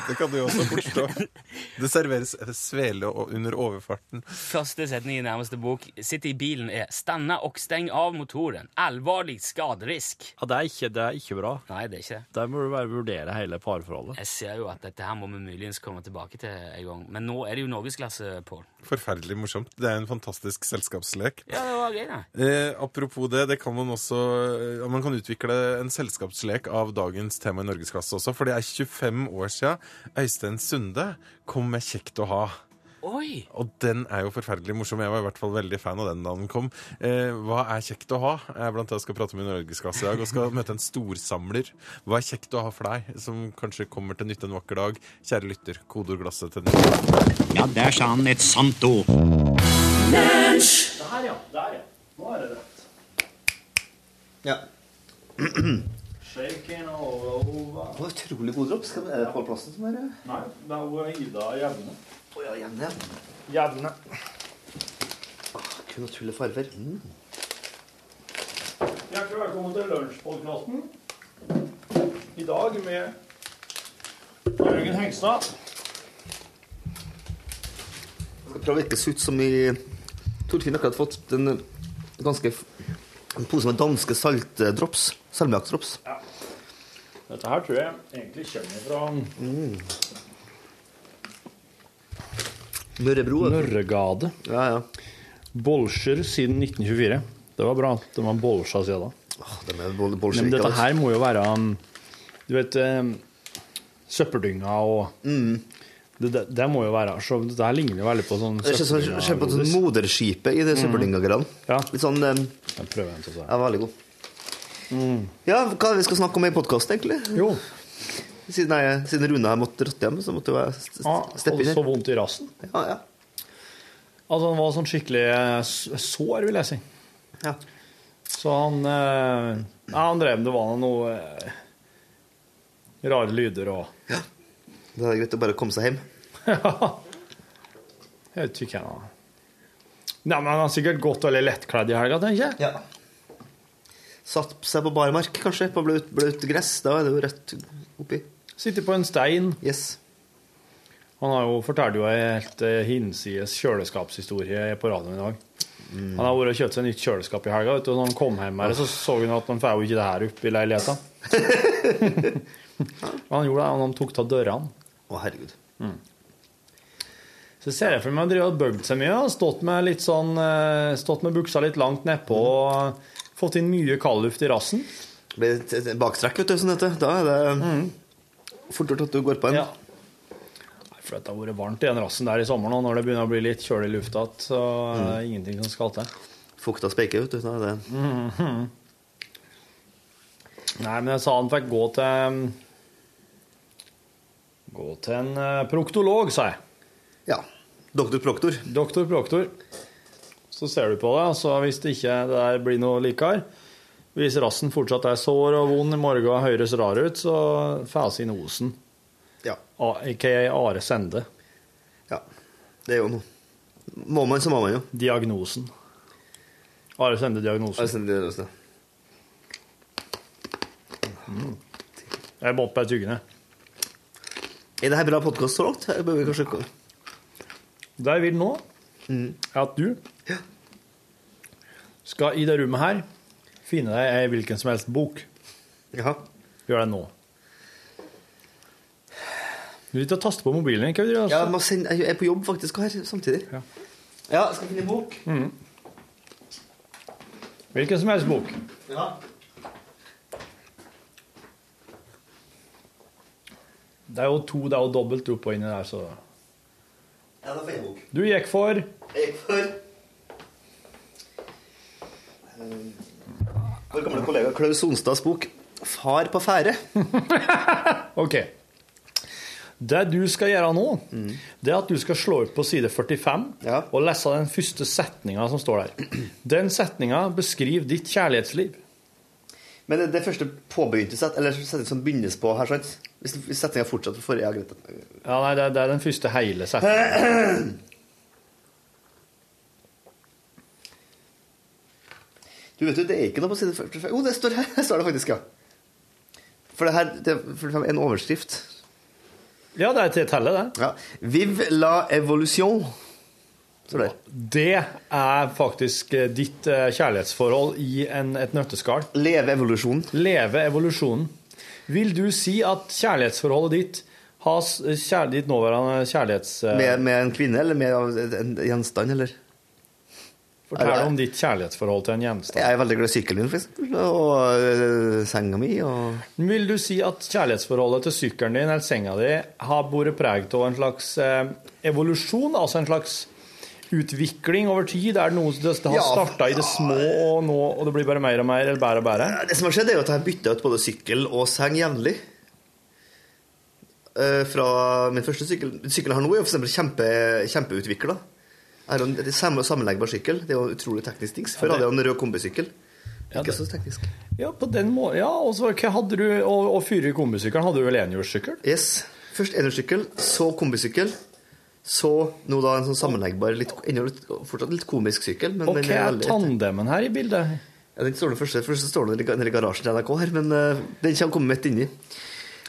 S4: Det kan du jo også forstå. Det serveres svele og- under overfarten.
S2: Første setning i nærmeste bok sitter i bilen er 'Stanna og steng av motoren. Alvorlig skaderisk'.
S3: Ja, det er ikke, det er ikke bra.
S2: Nei, det er ikke det.
S3: Der må du bare vurdere hele parforholdet.
S2: Jeg ser jo at dette her må vi muligens komme tilbake til en gang. Men nå er det jo norgesklasse, Pål.
S4: Forferdelig morsomt. Det er en fantastisk selskapslek.
S2: Ja, det var gøy, da.
S4: Eh, apropos det, det kan man også eh, Man kan utvikle en selskapslek av dagens tema i norgesklasse også. For det er 25 år siden Øystein Sunde kom med 'Kjekt å ha'.
S2: Oi!
S4: Og den er jo forferdelig morsom. Jeg var i hvert fall veldig fan av den da den kom. Eh, hva er kjekt å ha? Jeg er blant det jeg skal prate med i Norgesklasse i dag, og skal møte en storsamler. Hva er kjekt å ha for deg, som kanskje kommer til nytte en vakker dag? Kjære lytter, kodeord glasset til nytte.
S5: Ja, der sa han et sant ord.
S6: Ja. Det var utrolig god drops. Skal vi- Er det Pål Plassen som er det?
S3: Nei, det er Ida Jevne.
S6: Å ja, gjerne. ja.
S3: Jevne.
S6: Ah, Kun å tulle farver. Mm.
S3: Hjertelig velkommen til lunsjpodkasten. I dag med Jørgen Hengstad.
S6: Jeg skal prøve å ikke se ut som i Torfinn har akkurat fått en eh, ganske f- en pose med danske saltdrops. Salmiakkdrops.
S3: Dette her tror jeg egentlig kommer fra
S6: Mørrebro.
S3: Mørregade.
S6: Ja, ja.
S3: Bolsjer siden 1924. Det var bra. Det var bolsja siden da.
S6: Åh, de er
S3: Nei,
S6: bol
S3: Men
S6: bolsjevika,
S3: dette
S6: altså.
S3: her må jo være um, Du vet um, Søppeldynga og
S6: Mm.
S3: det, det, det må jo være så Dette her ligner jo veldig på sånn
S6: Det er ikke sånn,
S3: søppeldynga-
S6: ser på et sånt moderskipet i det søppeldynga-greiene.
S3: mm. Ja.
S6: Litt sånn eh,
S3: Jeg prøver en til å si.
S6: Ja, veldig god.
S3: Mm.
S6: Ja, hva er det vi skal snakke om i podkasten, egentlig?
S3: Jo.
S6: Siden, jeg, siden Rune har måttet dratt hjem, så måtte jo jeg st- st-
S3: Ah,
S6: steppe
S3: og
S6: inn.
S3: så
S6: her.
S3: vondt i rassen.
S6: Ja, ja.
S3: Altså, han var sånn skikkelig eh, s- sår, vil jeg si.
S6: Ja.
S3: Så han eh, Ja, han drev Det var noe eh, rare lyder og
S6: Det er greit å bare komme seg hjem.
S3: Jeg vet ikke hva. Nei, men han har sikkert gått veldig lettkledd i helga, tenker jeg.
S6: Ja. Satt seg på barmark, kanskje, på blaut, blaut gress. Da er det jo rett oppi.
S3: Sitter på en stein.
S6: Yes.
S3: Han har jo fortalt jo en helt eh, hinsides kjøleskapshistorie på radioen i dag. Han har vært og kjøpt seg nytt kjøleskap i helga, vet du, og når han kom hjem her, så så han at han får jo ikke det her opp i leiligheten. Og han gjorde det, og han tok av dørene.
S6: Å, herregud.
S3: Så ser jeg for meg han driver og bøgd seg mye, og stått med litt sånn, eh, stått med buksa litt langt nedpå, og fått inn mye kaldluft i rassen.
S6: Det blir et- et bakstrekk, vet du, som det heter. Da er det fort gjort at du går på en.
S3: Ja. Nei, For det har vært varmt i den rassen der i sommer nå, når det begynner å bli litt kjølig i lufta, så er det ingenting som skal til.
S6: Fukta speike, vet du. Da er
S3: Mm.
S6: det
S3: Nei, men jeg sa han fikk gå til um, Gå til en eh, proktolog, sa jeg.
S6: Ja. Doktor Proktor.
S3: Doktor Proktor. Så ser du på det, og så hvis det ikke det der blir noe likere Hvis rassen fortsatt er sår og vond i morgen og høres rar ut, så fes inn osen.
S6: Ja.
S3: A- AKA Are Sende.
S6: ja. Det er jo noe. Må man, så må man jo.
S3: Diagnosen. Are
S6: Ja,
S3: Sende-diagnosen.
S6: sånn det er også.
S3: Jeg måtte bare tygge ned.
S6: Er det her bra podkast så langt? Jeg bør vi kanskje...
S3: Der vil nå. at du skal i det rummet her finne deg ei hvilken som helst bok.
S6: Ja.
S3: Gjør det nå. Du sitter og taster på mobilen. din, Hva er det du gjør?
S6: Ja, jeg, må sende, jeg er på jobb faktisk her samtidig.
S3: Ja.
S6: Ja, jeg skal finne bok.
S3: Hvilken som helst bok.
S6: Ja.
S3: Det er jo to, det er jo dobbelt opp og inni der, så
S6: ja, da får jeg bok.
S3: Du gikk for
S6: Jeg gikk for eh, Vår gamle kollega Klaus Onstads bok 'Far på ferde'.
S3: OK. Det du skal gjøre nå, det er at du skal slå opp på side 45
S6: Ja.
S3: og lese den første setninga som står der. Den setninga beskriver ditt kjærlighetsliv.
S6: Men det, det første påbegynte set, eller setning som begynnes på her, sant? Hvis, hvis setninga fortsetter på forrige jeg har glemt det.
S3: Ja, nei, det er, det er den første hele setninga.
S6: Du vet jo, det er ikke noe på side 45 Jo, det står her! Her står det faktisk, ja. For det her det er 45 en overskrift.
S3: Ja, det er til tellet, det.
S6: Ja. Vive la evolution. Står der.
S3: Det er faktisk eh, ditt eh, kjærlighetsforhold i en, et nøtteskall.
S6: Leve evolusjonen.
S3: Leve evolusjonen. Vil du si at kjærlighetsforholdet ditt har s- kjær, ditt nåværende kjærlighets... eh,
S6: Med, med en kvinne eller med en gjenstand, eller?
S3: Fortell om ditt kjærlighetsforhold til en gjenstand.
S6: Jeg er veldig glad i sykkelen min, for eksempel, og øh, senga mi, og
S3: Vil du si at kjærlighetsforholdet til sykkelen din eller senga di har båret preg av en slags eh, evolusjon, altså en slags utvikling over tid? Er det noe som det, det har
S6: Ja.
S3: starta i det små, og, nå, og det blir bare mer og mer, eller bedre og bedre?
S6: Det som har skjedd, er jo at jeg har bytta ut både sykkel og seng jevnlig. Eh, Fra min første sykkel Sykkelen jeg har nå, er jo for eksempel kjempe, kjempeutvikla. Jeg har en det er samme- sammenleggbar sykkel. Det er jo utrolig teknisk ting. Før hadde jeg en rød kombisykkel. Ikke så teknisk.
S3: Ja, på den må ja, og så hva hadde du, og, og fyre i kombisykkelen, hadde du vel enhjulssykkel?
S6: Yes. Først enhjulssykkel, så kombisykkel. Så nå da en sånn sammenleggbar, litt, ennå litt, fortsatt litt komisk sykkel. Men
S3: Og
S6: den
S3: hva
S6: er
S3: er
S6: veldig
S3: tandemen her i bildet?
S6: Ja, den står den første, først så står den nede i- nede i garasjen til NRK her, men eh, den kommer komme midt inni.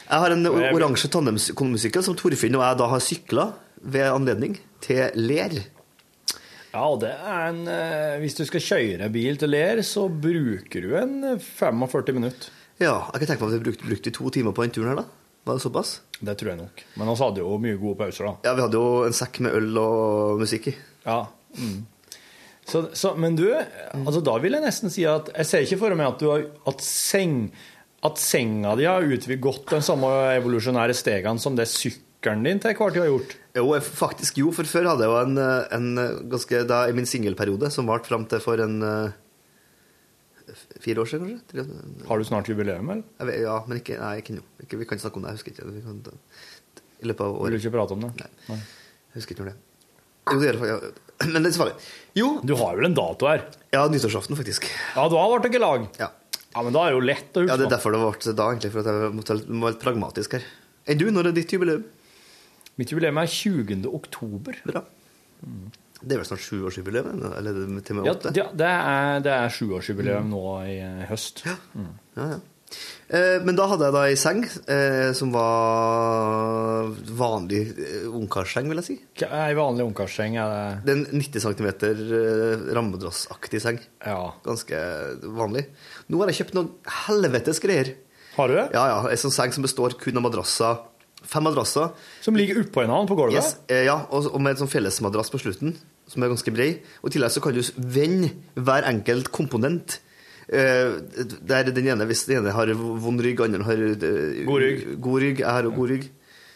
S6: Jeg har en or- oransje tandemsykkel som Torfinn og jeg da har sykla ved anledning til Ler.
S3: Ja, og det er en eh, Hvis du skal kjøre bil til Ler, så bruker du en eh, 45 minutter.
S6: Ja, jeg kan tenke meg at vi brukte, brukte to timer på den turen her, da. Var det såpass?
S3: Det tror jeg nok. Men vi hadde jo mye gode pauser, da.
S6: Ja, vi hadde jo en sekk med øl og musikk i.
S3: Ja. Mm. Så, så, men du, altså da vil jeg nesten si at jeg ser ikke for meg at, du har, at, seng, at senga di har utvidet godt den samme evolusjonære stegene som det sykkelen din til hver tid har gjort.
S6: Jo, jeg, faktisk jo, for før hadde jeg jo en, eh, en eh, ganske Da i min singelperiode, som varte fram til for en eh, f- Fire år siden, kanskje? Tre,
S3: Har du snart jubileum, eller?
S6: Jeg vet, ja, men ikke, nei, ikke nå. Ikke, vi kan ikke snakke om det. Jeg husker ikke. Vi kan, ta- I løpet av
S3: Vil du
S6: året.
S3: ikke prate om det?
S6: Nei. Jeg husker ikke når det er. Jo, det gjør det faktisk. ja. Men det er farlig. Jo,
S3: Du har vel en dato her?
S6: ja, nyttårsaften, faktisk.
S3: Ja, da ble det ikke lag.
S6: Ja.
S3: Ja, men da er det jo lett å
S6: ja,
S3: huske.
S6: det er derfor det ble da, egentlig. For at jeg måtte være- må være litt pragmatisk her. Enn du, når er ditt jubileum?
S3: Mitt jubileum er 20. oktober.
S6: Bra. Det er vel snart sjuårsjubileum? eller- Eller er det til og med
S3: Ja,
S6: åtte?
S3: det, det er, det er sjuårsjubileum nå i eh, høst.
S6: Ja, ja. Eh, Men da hadde jeg da ei seng eh, som var vanlig eh, ungkarsseng, vil jeg si.
S3: Hva- Ei vanlig ungkarsseng er det
S6: Det er en 90 cm eh, rammedrassaktig seng.
S3: Ja.
S6: Ganske vanlig. Nå har jeg kjøpt noen helvetes greier.
S3: Har du det?
S6: Ja, ja, En sånn seng som består kun av madrasser. Fem madrasser.
S3: Som ligger oppå en annen på gulvet?
S6: Yes, eh, ja, og, og med en sånn fellesmadrass på slutten, som er ganske brei. Og i tillegg så kan du s- vende hver enkelt komponent. Eh, der den ene, hvis den ene har vond rygg, andre har eh,
S3: God rygg.
S6: god rygg. Jeg har jo god rygg.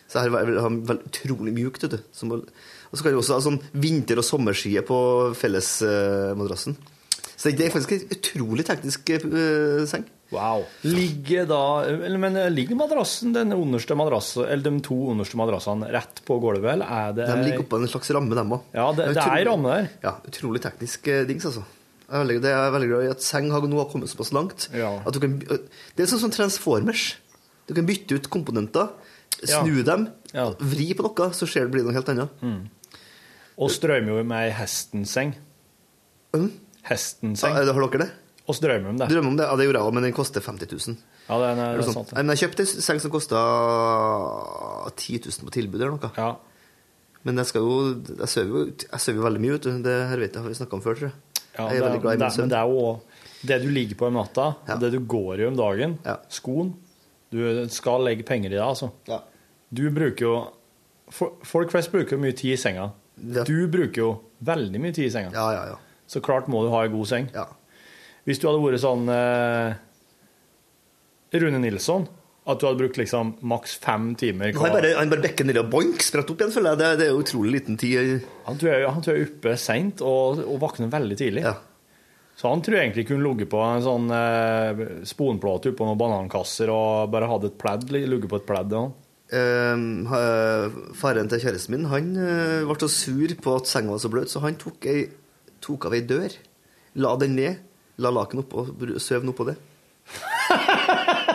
S6: Så jeg har, jeg har veldig utrolig mjukt, vet du. Som, å- og så kan du også ha sånn vinter- og sommerskie på fellesmadrassen. så det er faktisk en utrolig teknisk eh, seng.
S3: Wow. Ligger da eller, Men eh, ligger madrassen, den underste madrassen, eller de to underste madrassene, rett på gulvet, eller er det
S6: De ligger oppå en slags ramme, dem òg.
S3: Eh, Ja, det- det er ei ramme der.
S6: Ja, utrolig teknisk eh, dings, altså. Jeg er veldig, det er jeg veldig glad i at seng har nå har kommet såpass langt.
S3: Ja.
S6: At du kan, by- det er sånn som Transformers. Du kan bytte ut komponenter,
S3: Ja.
S6: snu dem,
S3: Ja. Mm.
S6: vri på noe, så ser det blir noe helt annet.
S3: Og strømmer jo med ei hestenseng.
S6: Mm. Ja,
S3: Hestenseng.
S6: eh, har dere det?
S3: Og strømmer om det.
S6: Drømmer om det? Ja, det gjorde jeg òg, men den koster 50 000.
S3: Ja, det er, det
S6: Eller
S3: er
S6: sånn.
S3: sant.
S6: Nei, men jeg kjøpte en seng som kosta 10 000 på tilbud eller noe.
S3: Ja.
S6: Men jeg skal jo Jeg sover jo jeg sover jo veldig mye, vet du. Det her vet jeg, har vi snakka om før, tror jeg.
S5: Ja,
S6: jeg er veldig glad i
S5: det,
S6: min
S5: men
S6: søvn.
S5: det er jo også det du ligger på om natta,
S6: Ja.
S5: det du går i om dagen,
S6: Ja.
S5: skoen Du skal legge penger i det, altså.
S6: Ja.
S5: Du bruker jo for- Folk flest bruker jo mye tid i senga.
S6: Ja.
S5: Du bruker jo veldig mye tid i senga.
S6: Ja, ja, ja.
S5: Så klart må du ha ei god seng.
S6: ja.
S5: Hvis du hadde vært sånn eh, Rune Nilsson, at du hadde brukt liksom maks fem timer
S6: Han bare, han bare bekker nedi og boink, spratt opp igjen, føler jeg. Det, det er jo utrolig liten tid.
S5: Han tror jeg, han tror jeg er oppe seint og, og våkner veldig tidlig.
S6: Ja.
S5: Så han tror jeg egentlig kunne ligget på en sånn eh, sponplate oppå noen banankasser og bare hadde et pledd, ligget på et pledd. sånn. Ja.
S6: Ehm, ha- faren til kjæresten min han eh, ble så sur på at senga var så bløt, så han tok, ei, tok av ei dør, la den ned, la laken opp og br- søv noe på det.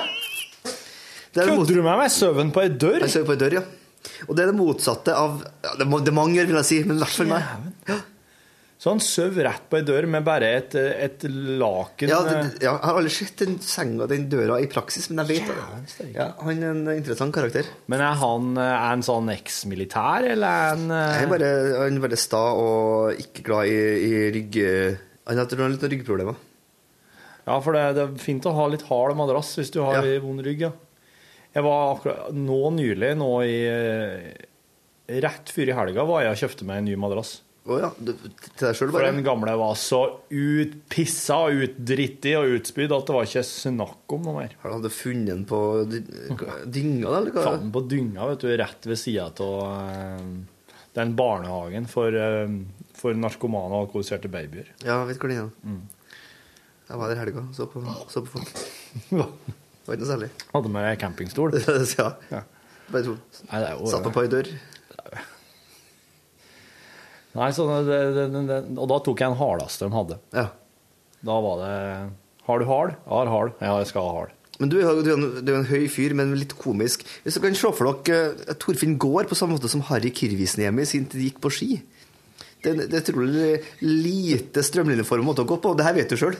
S6: det er det
S5: Kødder
S6: motsatte.
S5: du med meg? Søvn på ei dør?
S6: Jeg søv på ei dør, ja. Og det er det motsatte av ja, Det, må, det mange gjør, vil jeg si, men i hvert fall meg.
S5: Så han søv rett på ei dør med bare et, eh, et laken
S6: Ja, det,
S5: eh,
S6: ja, jeg har aldri sett den senga, den døra, i praksis, men jeg vet at ja, han er en interessant karakter.
S5: Men er han eh, er han sånn eksmilitær, eller er han eh,
S6: Han er bare, han er bare sta og ikke glad i, i rygg... Han har tror han har litt ryggproblemer.
S5: Ja, for det, det er fint å ha litt hard madrass hvis du har
S6: Ja.
S5: vond rygg, ja. Jeg var akkurat nå nylig, nå i eh, Rett før i helga var jeg og kjøpte meg en ny madrass.
S6: Å ja. du- Til deg sjøl,
S5: For
S6: bare?
S5: den gamle var så utpissa og utdrittig og utspydd at det var ikke snakk om noe mer.
S6: Har han funnet den på dy- dynga, da, eller hva?
S5: Fant den på dynga, vet du, rett ved sida av eh, den barnehagen for, eh, for narkomane og alkoholiserte babyer.
S6: Ja, jeg vet hvor den er. Jeg var der i helga så på, så på folk. Det
S5: Hadde
S6: var ikke noe særlig.
S5: med meg campingstol.
S6: ja. Bare to.
S5: Nei, det er jo-
S6: Satt opp på ei dør.
S5: Nei, så det, det, det, det, og da tok jeg en hardeste de hadde.
S6: Ja.
S5: Da var det Har du hard? Jeg har hard. Ja, jeg skal ha hard.
S6: Men du, er jo- du, er en, du er en høy fyr, men litt komisk. Hvis dere kan se for dere eh, Torfinn Gaard på samme måte som Harry Kirvisniemi sin tid gikk på ski. Det, det er utrolig lite strømlinjeform måte å gå på, og det her vet du sjøl.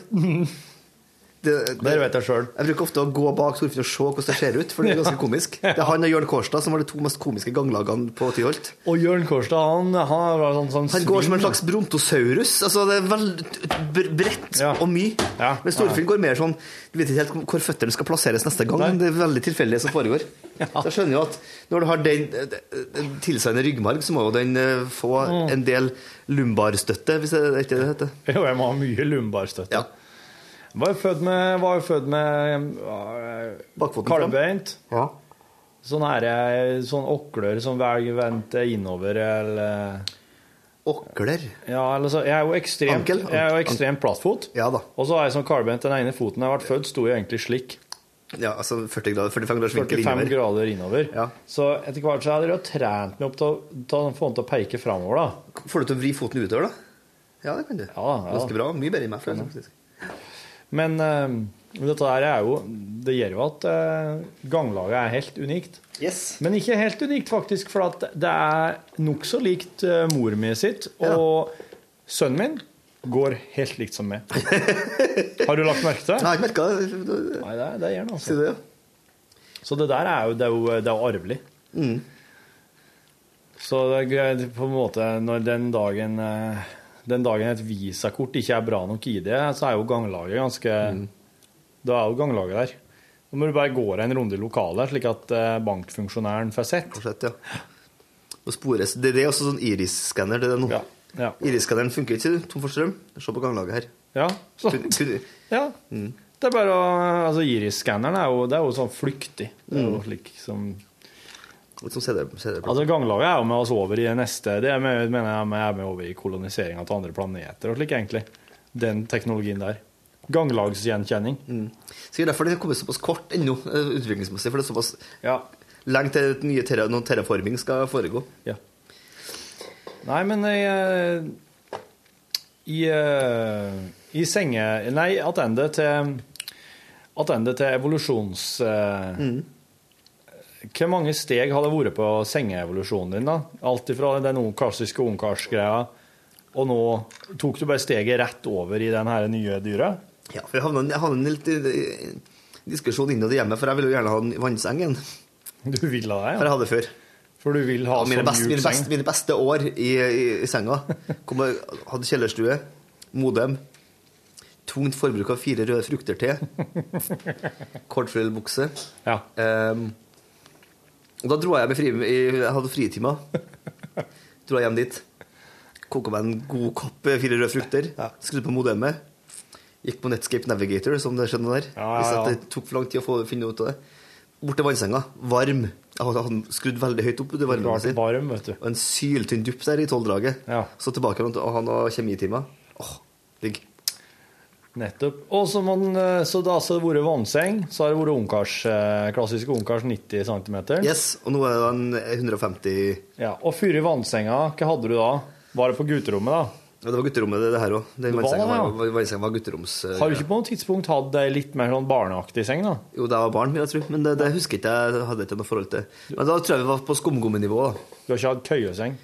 S6: Det,
S5: Det vet jeg sjøl.
S6: Jeg bruker ofte å gå bak Torfinn og se hvordan det ser ut, for det er ganske komisk. Det er han og Jørn Kårstad som var de to mest komiske ganglagene på Tyholt.
S5: Og Jørn Kårstad, han, han var sånn, sånn
S6: Han går som en
S5: svin.
S6: slags brontosaurus. Altså, det er veldig br- bredt
S5: Ja.
S6: og mye.
S5: Ja.
S6: Men Storfinn går mer sånn Du vet ikke helt hvor føttene skal plasseres neste gang.
S5: Nei.
S6: Det er veldig tilfeldig som foregår. Da skjønner jo at når du har den, den tilsvarende ryggmarg, så må jo den eh, få
S5: Mm.
S6: en del lumbarstøtte, hvis det er ikke det det heter.
S5: Jo, jeg må ha mye lumbarstøtte.
S6: Ja.
S5: Var jo født med, var jo født med uh,
S6: Bakfoten fram.
S5: kalvbeint.
S6: Ja.
S5: Sånn er jeg, sånn oklør som velger vente innover, eller
S6: Åkler.
S5: Ja, eller så Jeg er jo ekstremt,
S6: Ankel?
S5: jeg er jo ekstremt plattfot.
S6: Ja da.
S5: Og så har jeg sånn kalvbeint. Den ene foten jeg ble født, sto jo egentlig slik.
S6: Ja, altså 40 grader, 45 graders vinkel
S5: 45
S6: innover.
S5: grader innover.
S6: Ja.
S5: Så etter hvert så hadde jeg jo trent meg opp til å til å få den til å peke framover, da.
S6: Får du til å vri foten utover, da? Ja, det kan du.
S5: Ja, ja.
S6: Ganske bra. Mye bedre enn meg, føler jeg faktisk.
S5: Men eh, dette der er jo Det gjør jo at eh, ganglaget er helt unikt.
S6: Yes.
S5: Men ikke helt unikt, faktisk, for at det er nokså likt eh, mor mi sitt. Og sønnen min går helt likt som meg. Har du lagt merke til
S6: Jeg
S5: det?
S6: har ikke merka det.
S5: Nei, det, det gjør han,
S6: Si
S5: altså.
S6: det, ja.
S5: Så det der er jo, det er jo, det er jo arvelig. Så det er greit på en måte når den dagen eh, Den dagen et visakort ikke er bra nok ID, så er jo ganglaget ganske Da er jo ganglaget der. Da må du bare gå deg en runde i lokalet, slik at eh, bankfunksjonæren får sett.
S6: Rett og slett, ja. Og spores. Det, det er også sånn iris-skanner. Det er det nå.
S5: Ja. Ja.
S6: Iris-skanneren funker ikke, du, tom for strøm. Se på ganglaget her.
S5: ja. Så,
S6: Kun, kun,
S5: ja. Det er bare å Altså, Iris-skanneren er, jo- det er jo sånn flyktig. Det er jo slik som
S6: litt sånn som CD, CD
S5: Altså, Ganglaget er jo med oss over i det neste Det er med, mener jeg er med- er med over i koloniseringa til andre planeter og slik, egentlig. Den teknologien der. Ganglagsgjenkjenning.
S6: Sikkert derfor den har kommet såpass kort ennå, eh, utviklingsmessig. For det er såpass
S5: Ja.
S6: lenge til et nye terra, noen terraforming skal foregå.
S5: ja. Nei, men jeg, I, eh, i senge... Nei, attende til Attende til evolusjons... eh,
S6: Mm.
S5: Hvor mange steg har det vært på sengeevolusjonen din? da? Alt ifra den ungkarsiske ungkarsgreia, og nå tok du bare steget rett over i den her nye dyret?
S6: Ja, for jeg havna jeg havna i en litt eh, diskusjon innad i hjemmet, for jeg ville jo gjerne ha en vannseng igjen.
S5: Du ville det,
S6: For
S5: ja?
S6: jeg hadde før.
S5: For du vil ha
S6: Ja, mine,
S5: sånn
S6: best, mine,
S5: mjuk
S6: best,
S5: seng.
S6: mine beste år i, i, i senga. Kom, og- hadde kjellerstue, modem, tungt forbruk av fire røde frukter til, kortfrillbukse.
S5: Ja.
S6: Ehm, og da dro jeg med fri, i- Jeg hadde fritimer. Dro jeg hjem dit. Koka meg en god kopp eh, fire røde frukter. Skrudde på modemet. Gikk på Netscape Navigator, som det skjedde der.
S5: Ja, ja,
S6: Hvis at
S5: ja.
S6: det tok for lang tid å få, finne ut av det. Bort til vannsenga. Varm. Jeg hadde hadde den skrudd veldig høyt opp. Det varmen
S5: Klart
S6: sin.
S5: varm, vet du.
S6: Og en syltynn dupp der i tolvdraget.
S5: Ja.
S6: Så tilbake og han har kjemitimer. Åh, digg.
S5: Nettopp. Og så, man, eh, så da så har det vært vannseng, så har det vært ungkars, eh, klassiske ungkars 90 cm.
S6: Yes, og nå er det en 150 ja,
S5: Ja. Og fyr i vannsenga, hva hadde du da? Var det på gutterommet, da?
S6: Det var gutterommet, det, det her òg. Den
S5: Det var
S6: vannsenga
S5: det, ja.
S6: var, var, vannsenga var gutteroms... eh,
S5: Har du ikke på noe tidspunkt hatt ei litt mer sånn barneaktig seng, da?
S6: Jo, det var barn, vil jeg tro. Men det, det husker ikke jeg. hadde ikke noe forhold til. Men da tror jeg vi var på skumgumminivå. da.
S5: Du har ikke hatt køyeseng?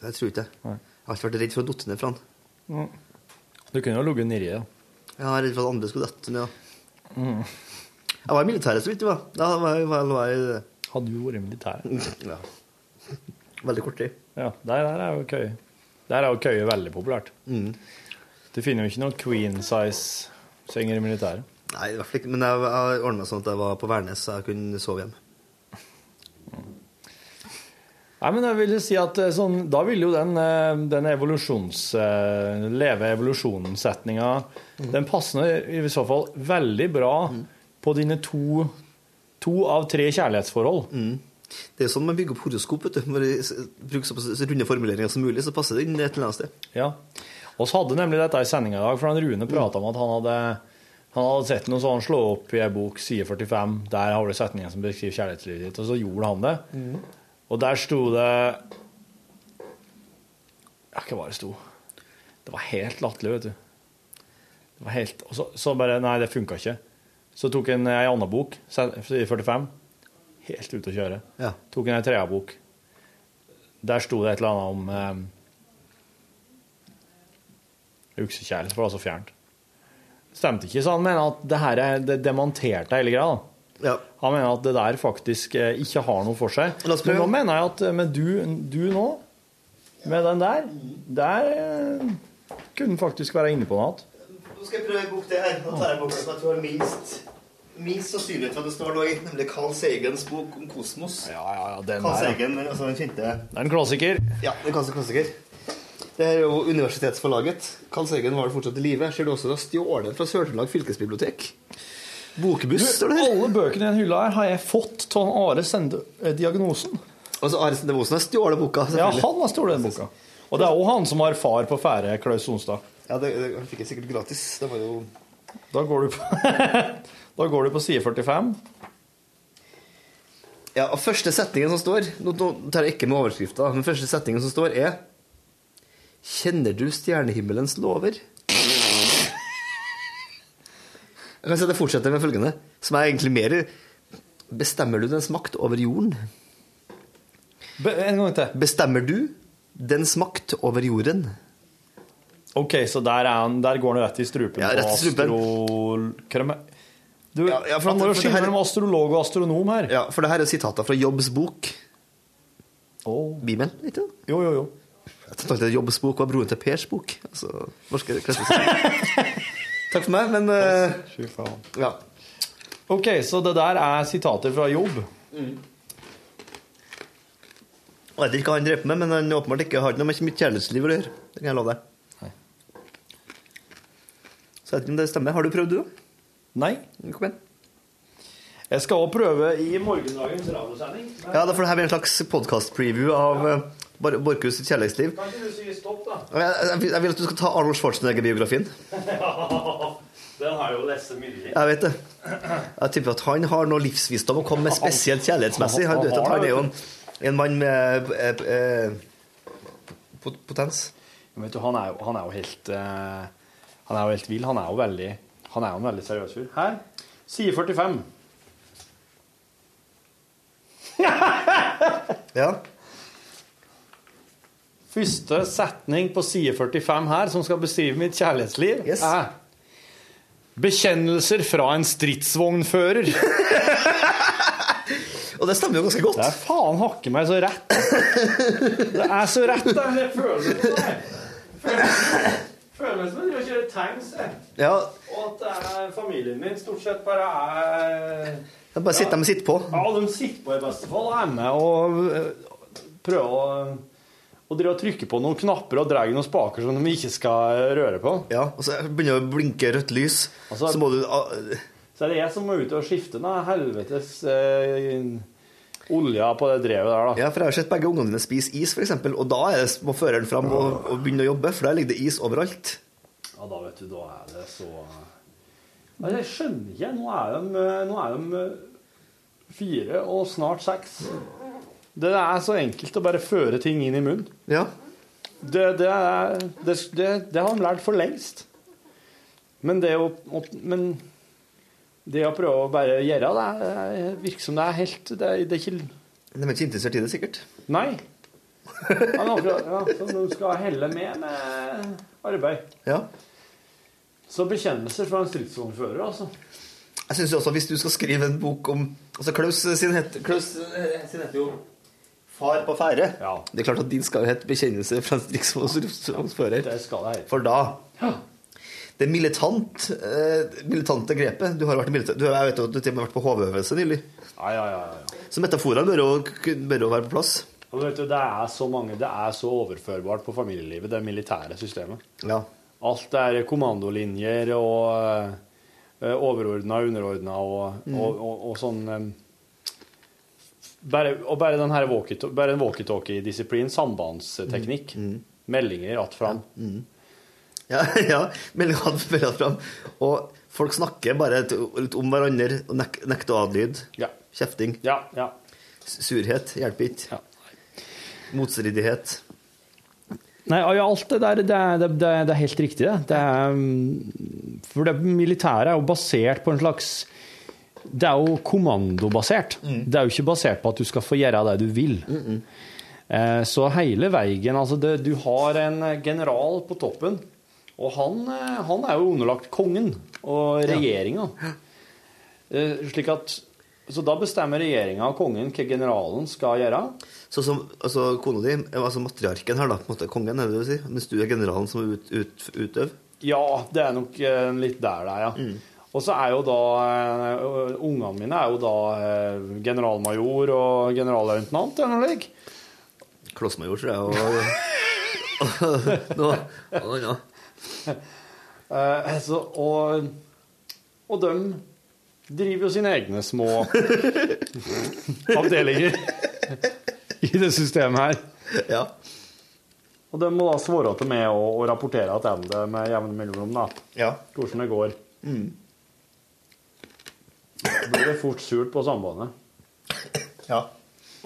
S6: Jeg tror ikke det. Jeg har alltid vært redd for å dotte ned fra han.
S5: Du kunne jo ligget nedi, da.
S6: Jeg var redd for at andre skulle dette ned. da.
S5: Mm.
S6: Jeg var i militæret, så vidt du var. Da var jeg, var jeg, var jeg,
S5: Hadde jo vært i militæret.
S6: ja. Veldig kort tid.
S5: Ja, der, der er jo køye. Der er jo køye veldig populært.
S6: Mm.
S5: Du finner jo ikke noen queen size-senger i militæret.
S6: Nei, i hvert fall ikke. Men jeg, jeg ordna meg sånn at jeg var på Værnes, så jeg kunne sove hjemme.
S5: Nei, men jeg vil jo si at eh, sånn, Da vil jo den, eh, den evolusjons... eh, Leve evolusjonen-setninga Den passer i så fall veldig bra på dine to To av tre kjærlighetsforhold.
S6: Det er jo sånn man bygger opp horoskop. vet du. Når man s- bruker såpass runde formuleringer som mulig, så passer det inn et eller annet sted.
S5: Ja. Og så hadde nemlig dette i sendinga i dag, for han Rune prata om at han hadde, han hadde sett noe sånn slå opp i ei bok, side 45, der har du setningen som beskriver kjærlighetslivet ditt, og så gjorde han det. Og der sto det Ja, hva var det sto? Det var helt latterlig, vet du. Det var helt Og så, så bare Nei, det funka ikke. Så tok han ei anna bok, side 45, helt ute å kjøre.
S6: Ja.
S5: Tok han ei trea bok. Der sto det et eller annet om eh, Uksekjærlighet, for det var så fjernt. Stemte ikke, så han mener at det her er det demonterte hele greia. da.
S6: Ja.
S5: Han mener at det der faktisk eh, ikke har noe for seg.
S6: La oss
S5: Men
S6: prøve.
S5: nå mener jeg at eh, men du, du nå, med den der, der eh, kunne den faktisk være inne på noe annet.
S6: Nå skal jeg prøve en bok til her. Nå tar jeg boka som jeg tror har minst, minst sannsynlighet for at det står noe i, nemlig Carl Sagens bok om kosmos.
S5: Ja, ja, ja, den
S6: Carl
S5: der. ja.
S6: Sagen, altså den kjente
S5: Det er en klassiker.
S6: Ja, den kanskje klassiker. Det er jo universitetsforlaget. Carl Sagen var det fortsatt i live. Ser du også det er stjålet fra Sør-Trøndelag fylkesbibliotek. Bokbuss, står det her.
S5: Alle bøkene i den hylla her har jeg fått av Are Sende eh, diagnosen.
S6: Altså, Are Sende Osen har stjålet boka.
S5: Ja,
S6: selvfølgelig.
S5: han har stjålet den boka. Og det er òg han som har far på ferde, Klaus Sonstad.
S6: Ja, det, det han fikk jeg sikkert gratis. Det var jo
S5: Da går du på, da går du på side 45.
S6: Ja, og første setningen som står Nå nå tar jeg ikke med overskrifta, men første setningen som står, er Kjenner du stjernehimmelens lover? Jeg kan si at jeg fortsetter med følgende, som er egentlig mer Bestemmer du dens makt over jorden?
S5: Be- En gang til.
S6: Bestemmer du dens makt over jorden?
S5: Ok, så der, er han, der går han rett i strupen
S6: Ja, rett i strupen.
S5: astro... Du,
S6: Ja, ja, for
S5: han
S6: at-
S5: må jo
S6: for det
S5: skille
S6: her-
S5: mellom astrolog og astronom her.
S6: Ja, for det her er sitater fra Jobbs bok.
S5: Åh.
S6: Bibelen, ikke det?
S5: Jo, jo, jo.
S6: Jeg tenkte alltid at Jobbs bok var broren til Pers bok. Altså, norske klassiske. Takk for meg, men eh,
S5: Fy faen.
S6: Ja.
S5: Ok, så det der er sitater fra jobb.
S6: Jeg vet ikke hva han dreper med, men han åpenbart ikke har ikke noe med mitt kjærlighetsliv å gjøre. Det kan jeg love deg. Så jeg vet ikke om det stemmer. Har du prøvd, du? da?
S5: Nei.
S6: Kom igjen.
S5: Jeg skal også prøve i morgendagens radiosending. Men
S6: Ja, da får det her bli en slags podcast-preview av eh, Bor- Borchhus' sitt kjærlighetsliv.
S5: kan ikke du si stopp, da?
S6: Og Jeg, jeg, vil- jeg vil at du skal ta Arnold Schwarzenegger-biografien.
S5: Den har jo lest mye.
S6: Jeg vet det. Jeg tipper at han har noe livsvisdom å komme med, spesielt kjærlighetsmessig. Han, du vet at han er jo en, en mann med eh, eh, pot- potens.
S5: Vet du, han er jo, han er jo helt eh, Han er jo helt vill. Han er jo veldig Han er jo en veldig seriøs fyr. Her. Side 45.
S6: Ja.
S5: Første setning på side 45 her, som skal beskrive mitt kjærlighetsliv,
S6: Yes.
S5: er Bekjennelser fra en stridsvognfører.
S6: Og Og det stemmer jo ganske godt.
S5: Det er faen hakke meg så rett. Det er så rett, det. Det føles som det. Føles som å kjøre tanks, det.
S6: Ja,
S5: Og at det er familien min stort sett bare er
S6: det er bare å sitte dem og sitte på.
S5: Ja, de sitter på i beste fall og er med og eh, prøver å og driver og trykker på noen knapper og drar noen spaker som de ikke skal eh, røre på.
S6: Ja, og så begynner det å blinke rødt lys,
S5: Altså-
S6: så må du ah,
S5: Så er det jeg som må ut og skifte den helvetes eh, olja på det drevet der, da.
S6: Ja, for jeg har sett begge ungene dine spise is, f.eks., og da er det, må føreren fram og, og begynne å jobbe, for der ligger det is overalt.
S5: Ja, da vet du, da er det så Ja, Jeg skjønner ikke. Nå er de, eh, nå er de fire og snart seks. Det er så enkelt å bare føre ting inn i munnen.
S6: Ja.
S5: Det, det, er, det, det, det har de lært for lengst. Men det å, å- men det å prøve å bare gjøre det, er- virker som det er helt Det, er- det er ikke
S6: De er ikke interessert i det, sikkert.
S5: Nei. Han har akkurat, ja, så du skal helle med med arbeid.
S6: Ja.
S5: Så bekjennelser fra en stridsvognfører, altså.
S6: Jeg syns også at hvis du skal skrive en bok om Altså, Klaus sin het, Klaus, eh, sin heter jo Far på ferde.
S5: Ja.
S6: Det er klart at din skal jo hete 'Bekjennelse fra en stridsvognfører'.
S5: Det skal det hete.
S6: For da Det militant, eh, militante grepet Du har vært militær, du, jeg vet jo at du til og med har vært på HV-øvelse nylig.
S5: Ja, ja, ja, ja.
S6: Så metaforene bør jo, bør jo være på plass.
S5: Og vet du, det er så mange, det er så overførbart på familielivet, det militære systemet.
S6: Ja.
S5: Alt er kommandolinjer og eh, overordna, underordna og,
S6: Mm.
S5: og, og, og sånn eh, bare, Og bare den her walkie- bare en walkietalkie-disiplin, sambandsteknikk,
S6: Mm.
S5: meldinger att fram.
S6: Ja, ja meldinga hadde meldet fram. Og folk snakker bare et- litt om hverandre. og Nek nekter adlyd.
S5: Ja.
S6: Kjefting.
S5: Ja, ja.
S6: s- Surhet. Hjelper ikke.
S5: Ja.
S6: Motstridighet.
S5: Nei, ja, alt det der, det er, det, det, det er helt riktig, det. det er, mm, for det militære er jo basert på en slags Det er jo kommandobasert. Det er jo ikke basert på at du skal få gjøre det du vil. Eh, Så hele veien Altså, det, du har en general på toppen, og han, eh, han er jo underlagt kongen og regjeringa. Eh, Slik at Så da bestemmer regjeringa og kongen hva generalen skal gjøre.
S6: Sånn som altså, kona di, altså matriarken her, da, på en måte, kongen, er det det du sier? Mens du er generalen som er ut, ut, utøver?
S5: Ja, det er nok eh, litt der det er, ja. Og så er jo da eh, Ungene mine er jo da eh, generalmajor og generalløytnant eller noe slik.
S6: Klossmajor, tror jeg. Og, og, og, og, og,
S5: Eh, så, og, og de driver jo sine egne små avdelinger i det systemet her.
S6: ja.
S5: Og de må da svare til meg og, og rapportere til det med jevne mellomrom, da.
S6: ja.
S5: Hvordan det går. Da Blir det fort surt på sambandet.
S6: Ja.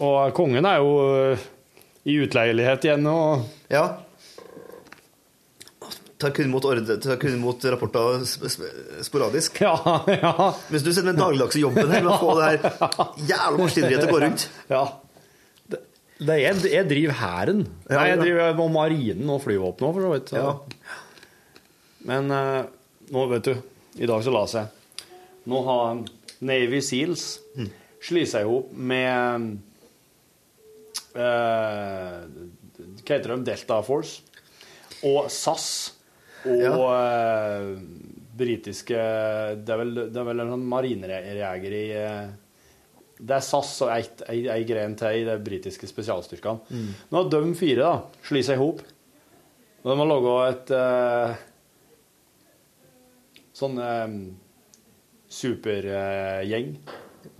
S5: Og kongen er jo ø, i utleielighet igjen og
S6: Ja. Tar kun imot, ordre, tar kun imot rapporter sp sp sporadisk.
S5: Ja, ja.
S6: Hvis du sender den dagligdagse jobben her med å få det her jævla maskineriet til å gå rundt
S5: ja. Det, det er, jeg driver hæren.
S6: Ja,
S5: Nei, jeg
S6: ja.
S5: driver med marinen og flyvåpenet òg, for så vidt. Så.
S6: Ja.
S5: Men ø, nå, vet du I dag så la seg. Nå har Navy Seals slitt seg i hop med ø, Hva heter de? Delta Force? Og SAS. Og eh, britiske Det er vel, det er vel en sånn marinejeger i eh, Det er SAS og ei, ei, ei gren til i de britiske spesialstyrkene. Nå har de fire da, slått seg i hop. Og de har laga et eh, sånn supergjeng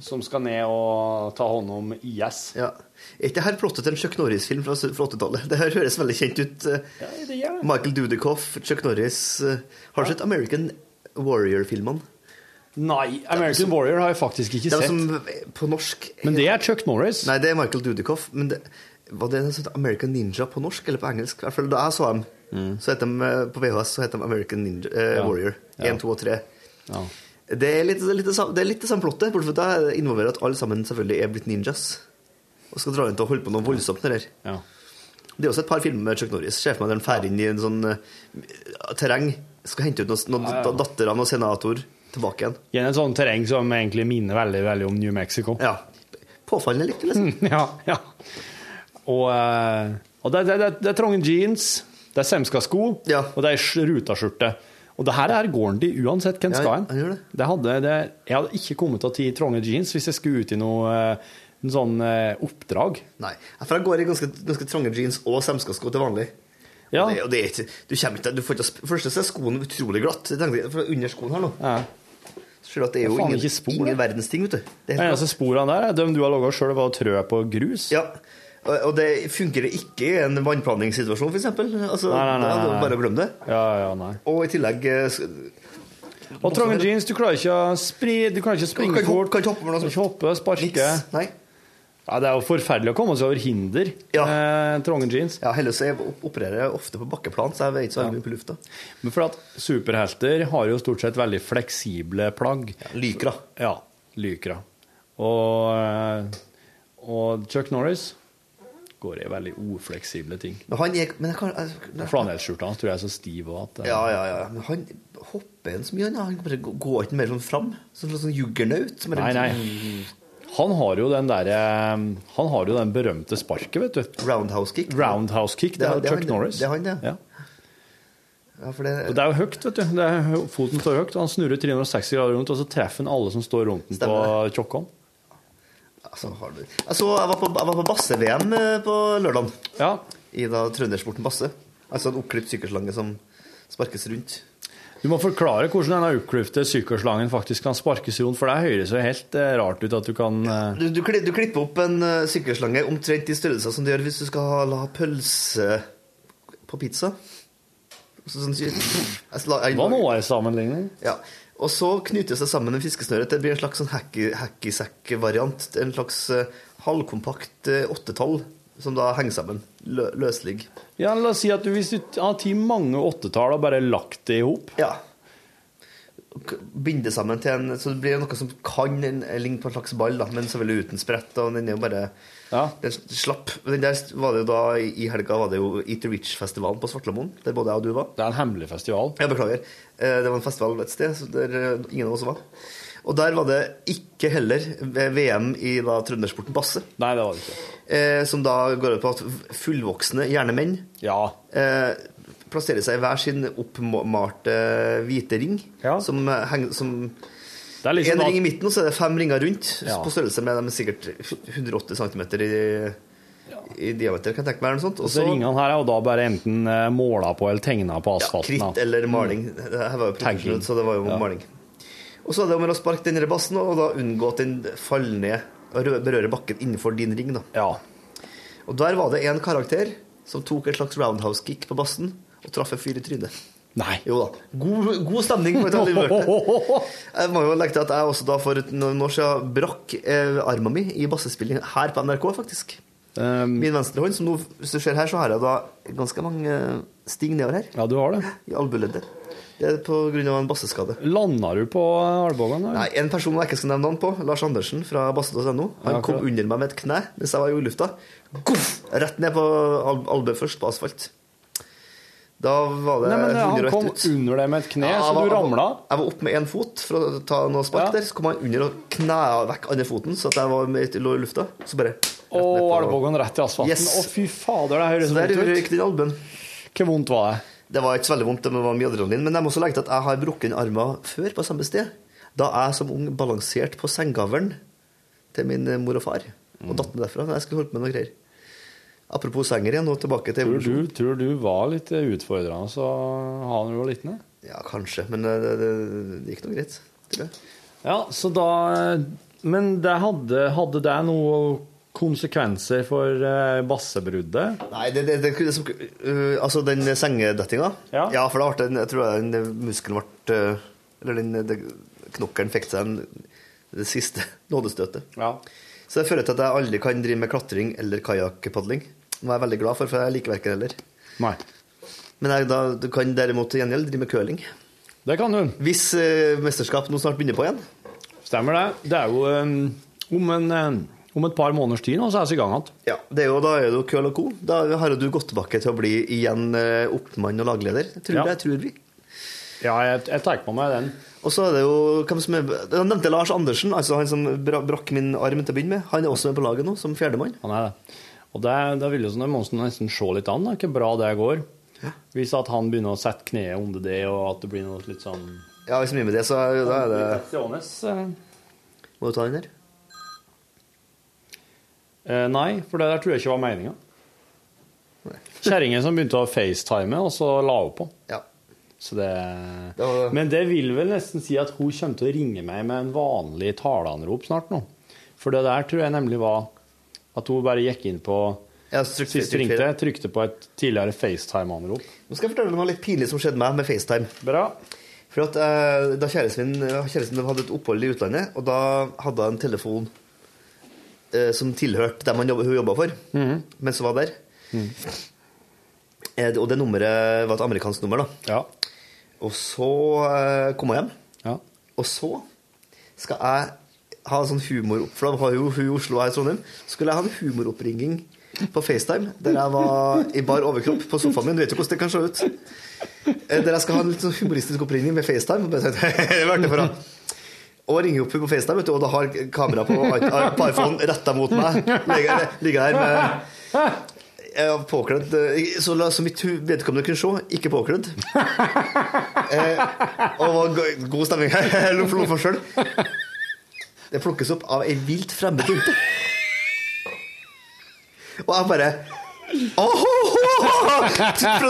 S5: som skal ned og ta hånd om IS.
S6: Ja. Er ikke det her plottet til en Chuck Norris-film fra s- fra 80-tallet? Det her høres veldig kjent ut. eh,
S5: Ja, det gjør det.
S6: Michael Dudikoff, Chuck Norris eh, Har du sett American Warrior-filmene?
S5: Nei, American Warrior har jeg faktisk ikke
S6: De
S5: sett.
S6: som på norsk
S5: Men det er Chuck Norris.
S6: Nei, det er Michael Dudikoff. Men det, var det en sånn American Ninja på norsk eller på engelsk? I hvert fall da jeg så dem, så het de, eh, på VHS så het de American Ninja, eh,
S5: Ja.
S6: Warrior. 1,
S5: Ja.
S6: 2 og 3.
S5: Ja.
S6: Det er litt det, er litt det samme- det, er litt det samme plottet, bortsett fra at det involverer at alle sammen selvfølgelig er blitt ninjas. Og skal dra rundt og holde på noe voldsomt med det her.
S5: Ja.
S6: Det er også et par filmer med Chuck Norris. Ser for meg der han drar inn i en sånn eh, terreng. Skal hente ut noen, noen
S5: Ja, ja.
S6: datter av noen senator tilbake igjen.
S5: I en sånn terreng som egentlig minner veldig veldig om New Mexico.
S6: Ja. påfallende likt. Liksom.
S5: ja, ja. Og, eh, og det, det, det, det er trange jeans, det er semska sko,
S6: Ja.
S5: og det er sj- rutaskjorte. Og det her er gården de uansett hvem
S6: Ja,
S5: skal hen.
S6: han gjør det.
S5: hadde, det, jeg hadde ikke kommet til å ti trange jeans hvis jeg skulle ut i noe eh, en sånn eh, oppdrag.
S6: Nei. For jeg går i ganske, ganske trange jeans og semskasko til vanlig.
S5: Ja.
S6: Og det, og det er ikke, du kommer ikke, du får ikke, for det første så er skoen utrolig glatt. Jeg tenkte, for under skoen her nå,
S5: Ja.
S6: så ser du at det er
S5: Det
S6: jo
S5: er faen
S6: ingen,
S5: ikke spor, altså.
S6: ingen
S5: det.
S6: verdens ting, vet du. Det er
S5: De
S6: helt
S5: eneste sporene der er de du har laga sjøl, var trø på grus.
S6: Ja, og og det fungerer ikke i en vannplaningssituasjon, for eksempel. Altså,
S5: Nei, nei, nei,
S6: da er det
S5: nei.
S6: Bare å glemme det.
S5: ja, ja, nei.
S6: Og i tillegg eh, sk-
S5: Og trange jeans, du klarer ikke å spri, du klarer ikke å springe
S6: Kan ikke hoppe-
S5: fort.
S6: kan ikke hoppe med noe som-
S5: Kan ikke hoppe,
S6: niks.
S5: sparke.
S6: Nei.
S5: Ja, det er jo forferdelig å komme seg over hinder.
S6: Ja.
S5: Eh, trange jeans.
S6: Ja, heldigvis jeg op- opererer jeg ofte på bakkeplan, så jeg vet ikke så mye på lufta.
S5: Men for at superhelter har jo stort sett veldig fleksible plagg.
S6: Lykra.
S5: Ja, lykra. Og, eh, og Chuck Norris går i veldig ufleksible ting.
S6: Men han er men jeg kan, jeg,
S5: Og Flanellskjorta hans tror jeg er så stiv også at eh,
S6: Ja, ja, ja. Men han hopper en så mye, han. Han bare går- går ikke mer sånn fram. Sånn sånn juggernaut. som er
S5: Nei,
S6: en
S5: nei. Han har jo den derre Han har jo den berømte sparket, vet du.
S6: sånn Roundhouse kick.
S5: Roundhouse kick. Det
S6: er-
S5: er
S6: det er
S5: Chuck
S6: han-
S5: Norris.
S6: det er han, det.
S5: Ja.
S6: Ja, for det,
S5: Og det er jo høyt, vet du. Det er, hø- foten står høyt. og Han snurrer 360 grader rundt, og så treffer han alle som står rundt den på
S6: Stemmer
S5: tjokkhånd.
S6: altså, har du. Jeg, så, jeg var på, jeg var på basse-VM eh, på lørdagen.
S5: Ja.
S6: i da trøndersporten basse. Altså en oppklipt sykkelslange som sparkes rundt.
S5: Du må forklare hvordan denne oppkløfte sykkelrslangen faktisk kan sparkes rundt, for det høres jo helt eh, rart ut at du kan eh,
S6: Du, du, kli- du klipper opp en eh, sykkelslange omtrent i størrelser som du gjør hvis du skal ha, la pølse på pizza. Så, sånn, jeg, la- jeg,
S5: Hva nå er sammenligning?
S6: Ja. Og så knyter det seg sammen en fiskesnøre til det blir en slags sånn hacky- hackysack-variant. En slags eh, halvkompakt eh, åttetall som da henger sammen. Lø, løslig.
S5: Ja, La oss si at du, hvis du t- har tatt mange åttetall og bare lagt det i hop
S6: Ja. K- Binde sammen til en Så det blir noe som kan en- ligne på en slags ball, da, men selvfølgelig uten sprett. Og den er jo bare
S5: Ja.
S6: Den s- slapp. Men Den der s- var det jo da i i helga var det jo Eat the Rich-festivalen på Svartlamoen, der både jeg og du var.
S5: Det er en hemmelig festival.
S6: Jeg beklager. Eh, Det var en festival et sted så der eh, ingen av oss var. Og der var det ikke heller V- VM i da trøndersporten basse,
S5: Nei, det var det ikke.
S6: eh, som da går ut på at fullvoksne, gjerne menn,
S5: Ja.
S6: eh, plasserer seg i hver sin oppmalte hvite ring.
S5: Ja.
S6: Som, eh, henger- som
S5: Det er liksom
S6: En
S5: at-
S6: ring i midten, og så er det fem ringer rundt.
S5: Ja.
S6: På størrelse med dem sikkert 180 cm i, i diameter, kan jeg tenke meg. eller noe sånt. Og
S5: Så
S6: så
S5: ringene her er jo da bare enten eh, måla på eller tegna på
S6: ja,
S5: asfalten.
S6: kritt
S5: da.
S6: eller maling. Det her var jo
S5: Tagging.
S6: profesjonelt, så det var jo
S5: Ja.
S6: maling. Og så er det om å sparke den der bassen, og da unngå at den faller ned og rø- berører bakken innenfor din ring. da.
S5: Ja.
S6: Og der var det en karakter som tok et slags roundhouse kick på bassen og traff en fyr i trynet.
S5: Nei.
S6: Jo da. God, god stemning. på et veldig mørkt. Jeg må jo legge til at jeg også da for et- noen år siden brakk eh, armen min i bassespilling her på NRK, faktisk.
S5: Um,
S6: Min venstre hånd, som nå, hvis du ser her, så har jeg da ganske mange eh, sting nedover her.
S5: ja, du har det.
S6: I albueleddet. Det er på grunn av en basseskade.
S5: Landa du på eh, albuen?
S6: Nei, en person jeg ikke skal nevne navn på, Lars Andersen fra basse.no, han
S5: Ja,
S6: kom
S5: akkurat.
S6: under meg med et kne mens jeg var i lufta. Goff! Rett ned på al albue først, på asfalt. Da var det
S5: Nei, men eh, han
S6: 101
S5: kom
S6: ut.
S5: under deg med et kne, så
S6: jeg
S5: du
S6: var-
S5: ramla.
S6: Jeg var opp med én fot for å ta noe spark
S5: Ja.
S6: der. Så kom han under og knæa vekk andre foten, så at jeg var med, lå i lufta. Så bare
S5: Og
S6: rett ned på-
S5: albuen rett i asfalten. Å,
S6: Yes.
S5: fy fader, det høres
S6: Så der
S5: vondt ut.
S6: røyk den albuen.
S5: Hvor vondt var det?
S6: Det var ikke så veldig vondt, det var mye adrenalin. Men jeg må også legge til at jeg har brukket en armen før på samme sted. Da jeg som ung balanserte på sengegavlen til min eh, mor og far. Og
S5: Mm.
S6: datt ned derfra. Jeg skulle holde på med noe greier. Apropos senger igjen, og tilbake til
S5: Tror
S6: evolusjon.
S5: du, tror du var litt eh, utfordrende så ha når du var liten? eh?
S6: Ja, kanskje, men eh, det, det, det gikk nå greit. tror jeg.
S5: Ja, så da eh, Men det hadde, hadde det noen konsekvenser for eh, bassebruddet?
S6: Nei, det, det, det, kunne som, øh, altså den sengedettinga?
S5: Ja.
S6: for da ble den Jeg tror den muskelen ble øh, Eller den det- knokkelen fikk seg en, det siste nådestøtet.
S5: Ja.
S6: Så det fører til at jeg aldri kan drive med klatring eller kajakkpadling. Noe jeg er veldig glad for, for jeg liker verken heller.
S5: Nei.
S6: Men jeg da, du kan derimot til gjengjeld drive med curling.
S5: Det kan hun.
S6: Hvis øh, mesterskap nå snart begynner på igjen
S5: Stemmer det. Det er jo eh, om, en, eh, om et par måneders tid nå, så er vi i gang igjen.
S6: ja, det er jo, Da er det jo køl og co. Da har jo du gått tilbake til å bli igjen øh, oppmann og lagleder. Tror
S5: Ja.
S6: jeg, tror vi.
S3: Ja, jeg, jeg tar på meg den.
S6: Og så er det jo hvem som er Jeg nevnte Lars Andersen, altså han som bra, brakk min arm til å begynne med. Han er også med på laget nå, som fjerdemann.
S3: Han er det. Og det, det vil jo sånn, det må man nesten se litt an, da, hvor bra det går. Hvis at han begynner å sette kneet under det, og at det blir noe litt sånn
S6: Ja, hvis han blir med det, så er- da er det
S3: Eh,
S6: Må du ta den der?
S3: Eh, nei, for det der tror jeg ikke var meninga. Kjerringen som begynte å facetime, og så la hun på.
S6: Ja.
S3: Så det...
S6: Det var-
S3: Men det vil vel nesten si at hun kommer til å ringe meg med en vanlig taleanrop snart nå. For det der tror jeg nemlig var at hun bare gikk inn på
S6: Ja, så trykk-
S3: Sist
S6: trykk-
S3: ringte, trykte på et tidligere FaceTime-anrop.
S6: Nå skal jeg fortelle deg noe litt pinlig som skjedde meg med FaceTime.
S3: Bra.
S6: For at eh, da kjæresten min, kjæresten min hadde et opphold i utlandet, og da hadde jeg en telefon eh, som tilhørte dem han jobbet, hun jobba for,
S3: Mhm.
S6: mens hun var der. Eh, og det nummeret var et amerikansk nummer, da.
S3: Ja.
S6: Og så eh, kom jeg hjem,
S3: ja.
S6: og så skal jeg ha en sånn humoropp... For da har jo hun i Oslo og jeg i Trondheim. Så skulle jeg ha en humoroppringning på FaceTime, der jeg var i bar overkropp på sofaen min. Du vet jo hvordan det kan se ut. Eh, Der jeg skal ha en litt sånn humoristisk oppringning med FaceTime. Og bare sånn, «Hei, hva er det for noe?» Og ringer opp på FaceTime, vet du, og da har kameraet på, på iPhone retta mot meg. Ligger, ligger her med jeg var påkledd eh, Så la- så mitt hu- vedkommende kunne se, ikke påkledd. Eh, og det var go- god stemning. Lo for lo for sjøl. Det plukkes opp av ei vilt fremmed jente. Og jeg bare «Åhåhå!» Fra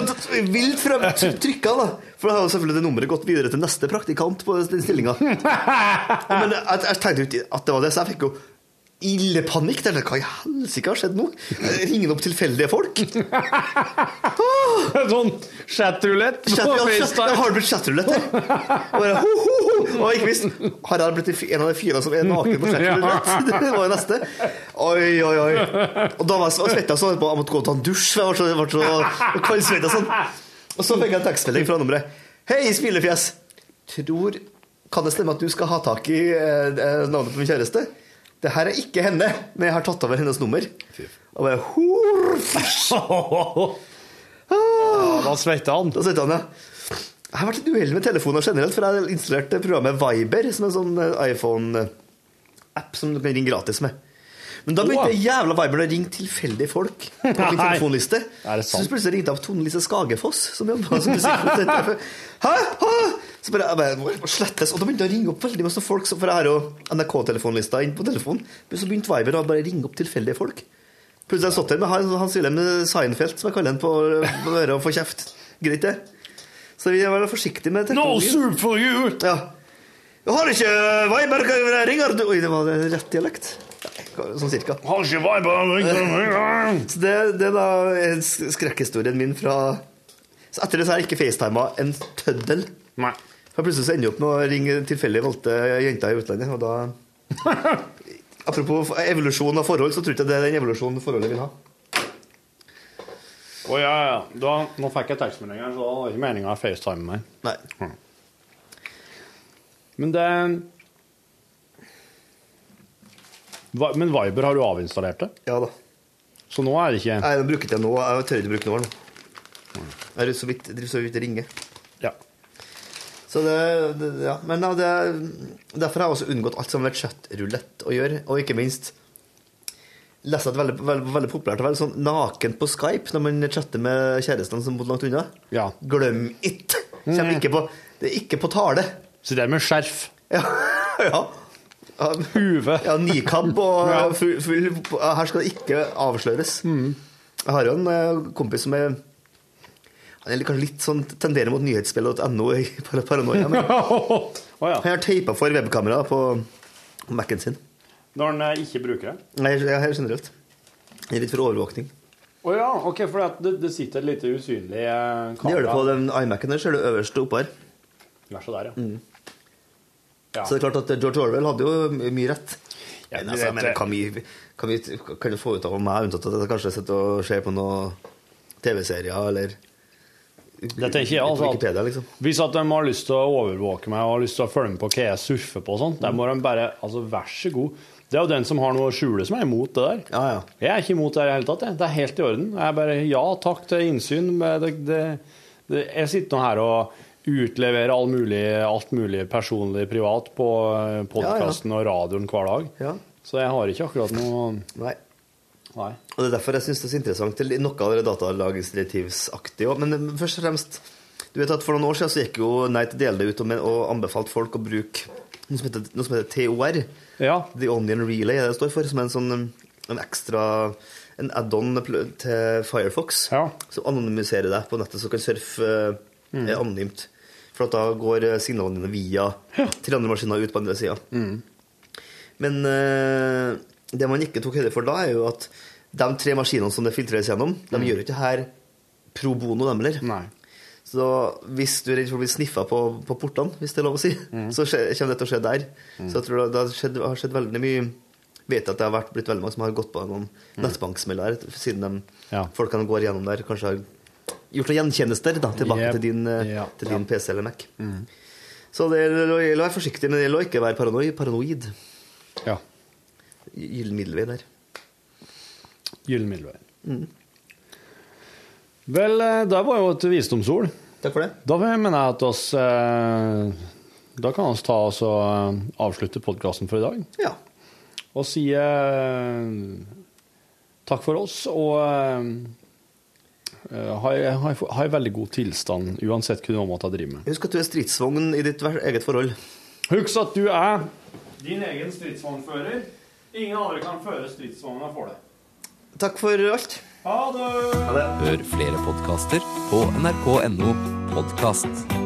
S6: t- Vilt fremmed trykka, da. For da har jo selvfølgelig det nummeret gått videre til neste praktikant på den stillinga. Men jeg, jeg tenkte jo ikke at det var det, så jeg fikk jo ille panikk. Jeg tenkte, Hva i helsike har skjedd nå? Jeg Ringer opp tilfeldige folk?
S3: Sånn chatrulett på
S6: Chat, ja, jeg
S3: FaceTime.
S6: har det blitt chatrulett her? Og, bare, ho, ho, ho. og ikke minst, har jeg blitt en av de fire som er naken på chatrulett? Det var jo neste. Oi, oi, oi. Og da var jeg så svetta så jeg på, jeg måtte gå og ta en dusj. for Jeg var så, jeg var så kaldsvetta sånn. Og så fikk jeg en tekstmelding fra nummeret. Hei, smilefjes. Tror Kan det stemme at du skal ha tak i eh, eh, navnet på min kjæreste? Det her er ikke henne, men jeg har tatt over hennes nummer. Og bare horf. Ah.
S3: Da svetta han.
S6: Da sitter han, ja. Jeg har vært litt uheldig med telefoner generelt, for jeg har installert programmet Viber, som er en sånn eh, iPhone-app som du kan ringe gratis med. Men da begynte
S3: Åh.
S6: jævla Viber å ringe tilfeldige folk på min
S3: Nei.
S6: telefonliste.
S3: Er det
S6: Så
S3: sant?
S6: plutselig ringte jeg opp Tone Lise Skagefoss, som jobba som musikkprodusent. Hæ? Hæ? Så bare, jeg bare må- må slettes. Og da begynte jeg å ringe opp veldig masse folk, så- for jeg har jo NRK-telefonlista inn på telefonen. Men så begynte Viber å bare ringe opp tilfeldige folk. Plutselig har jeg stått der med han, han Wilhelm Seinfeld, som jeg kaller han på, på øret, og får kjeft. Greit, det. Så vi er forsiktige med teknologien.
S3: soup for you!
S6: Ja. Jeg har ikke Weiber jeg ringer du Oi, det var rett dialekt. Nei, Sånn cirka.
S3: Har ikke vibe.
S6: Så det, det er da er sk- skrekkhistorien min fra Så etter det så har jeg ikke facetima en tøddel.
S3: Nei.
S6: For plutselig så ender jeg opp med å ringe tilfeldig valgte jenter i utlandet, og da Apropos evolusjon av forhold, så tror jeg ikke det er den evolusjonen forholdet vil ha.
S3: Å ja, ja. Da, nå fikk jeg tekstmeldinger, så da var det ikke meninga å facetime meg.
S6: Nei.
S3: Men det Va- Men Viber har du avinstallert det?
S6: Ja da.
S3: Så nå er det ikke
S6: Nei, den bruker ikke jeg nå. Jeg tør ikke bruke nålen. Jeg driver så vidt, driver så vidt og ringer.
S3: Ja.
S6: Så det, det Ja. Men ja, det, derfor har jeg også unngått alt som har vært kjøttrulett å gjøre, og ikke minst leste at veldig, veldig, veldig populært å være sånn naken på Skype når man chatter med kjærestene som bor langt unna.
S3: Ja.
S6: Glem it! Kjem ikke på, det er ikke på tale.
S3: Så det er med skjerf.
S6: Ja. ja. Ja,
S3: Hue.
S6: ja, nikab og
S3: Ja. Mm.
S6: full, full ja, Her skal det ikke avsløres. Jeg har jo en eh, kompis som er Han er litt- kanskje litt sånn tenderer mot nyhetsspillet.no i par- paranoia. Men
S3: Å ja.
S6: han har teipa for webkamera på Mac-en sin.
S3: Når den eh, ikke bruker det?
S6: Nei, ja, helt generelt. Det er litt for overvåkning.
S3: Å ja, OK, for det, at det, det sitter et lite usynlig eh, kamera
S6: Det gjør det på den iMac-en der, ser du øverst oppe her.
S3: Vær så der, ja. ja.
S6: Så det er klart at eh, George Orwell hadde jo my- mye rett.
S3: Ja,
S6: Men
S3: du
S6: altså,
S3: vet
S6: men
S3: det.
S6: kan vi, kan vi kan du få ut av meg, unntatt at jeg kanskje sitter og ser på noen TV-serier eller
S3: Det tenker jeg, altså.
S6: Wikipedia, liksom.
S3: Hvis at de har lyst til å overvåke meg og har lyst til å følge med på hva jeg surfer på og sånn, der må de bare Altså, vær så god. Det er jo den som har noe å skjule, som er imot det der.
S6: Ja, ja.
S3: Jeg er ikke imot det her i det hele tatt. Jeg. Det er helt i orden. Jeg er bare ja takk til innsyn. men Det, det, det, jeg sitter nå her og utlevere all mulig, alt mulig personlig privat på podkasten og radioen hver dag.
S6: Ja.
S3: Så jeg har ikke akkurat noe
S6: Nei.
S3: Nei.
S6: Og det er derfor jeg syns det er så interessant. Det er Noe av det datalagringsdirektivsaktige òg. Men eh, først og fremst du vet at For noen år siden så gikk jo Nei til Dele ut og, men- og anbefalte folk å bruke noe som heter, noe som heter TOR.
S3: Ja.
S6: The Onion Relay er det det står for, som er en sånn eh, en ekstra en add-on pl- til Firefox
S3: Ja.
S6: som anonymiserer deg på nettet, så du kan surfe eh, anonymt. For at da går eh, signalene dine via til andre maskiner ut på andre sida. Men eh, det man ikke tok høyde for da, er jo at de tre maskinene som det filtreres gjennom, de gjør jo ikke det her pro bono, dem heller.
S3: Mm. Nei.
S6: Så hvis du er redd for å bli sniffa på, på portene, hvis det er lov å si,
S3: Mm.
S6: så skje, kommer det til å skje der. Så jeg tror det, det har, skjedd, har skjedd veldig mye Vet at det har vært, blitt veldig mange som har gått på noen nettbanksmeller siden de
S3: Mm. Ja.
S6: folkene går gjennom der, kanskje har gjort noen gjenkjennelser da, tilbake
S3: Yep.
S6: til din, eh,
S3: Ja. Mm.
S6: til din PC eller Mac. Så det gjelder å- gjelder å være forsiktig, men det gjelder å ikke være paranoid. paranoid.
S3: Ja.
S6: Gyllen middelvei der.
S3: Gyllen middelvei. Vel, eh, det var jo et visdomsord.
S6: Takk for det.
S3: Da mener jeg at oss eh, Da kan vi ta oss og eh, avslutte podkasten for i dag.
S6: Ja.
S3: Og si eh, takk for oss, og eh, eh, ha en- ha en ha en veldig god tilstand uansett hva du måtte drive med.
S6: Husk at du er stridsvogn i ditt ver- eget forhold.
S3: Husk at du er Din egen stridsvognfører. Ingen andre kan føre stridsvogna for deg.
S6: Takk for alt.
S3: Ha det!
S7: Hør flere podkaster på nrk.no podkast.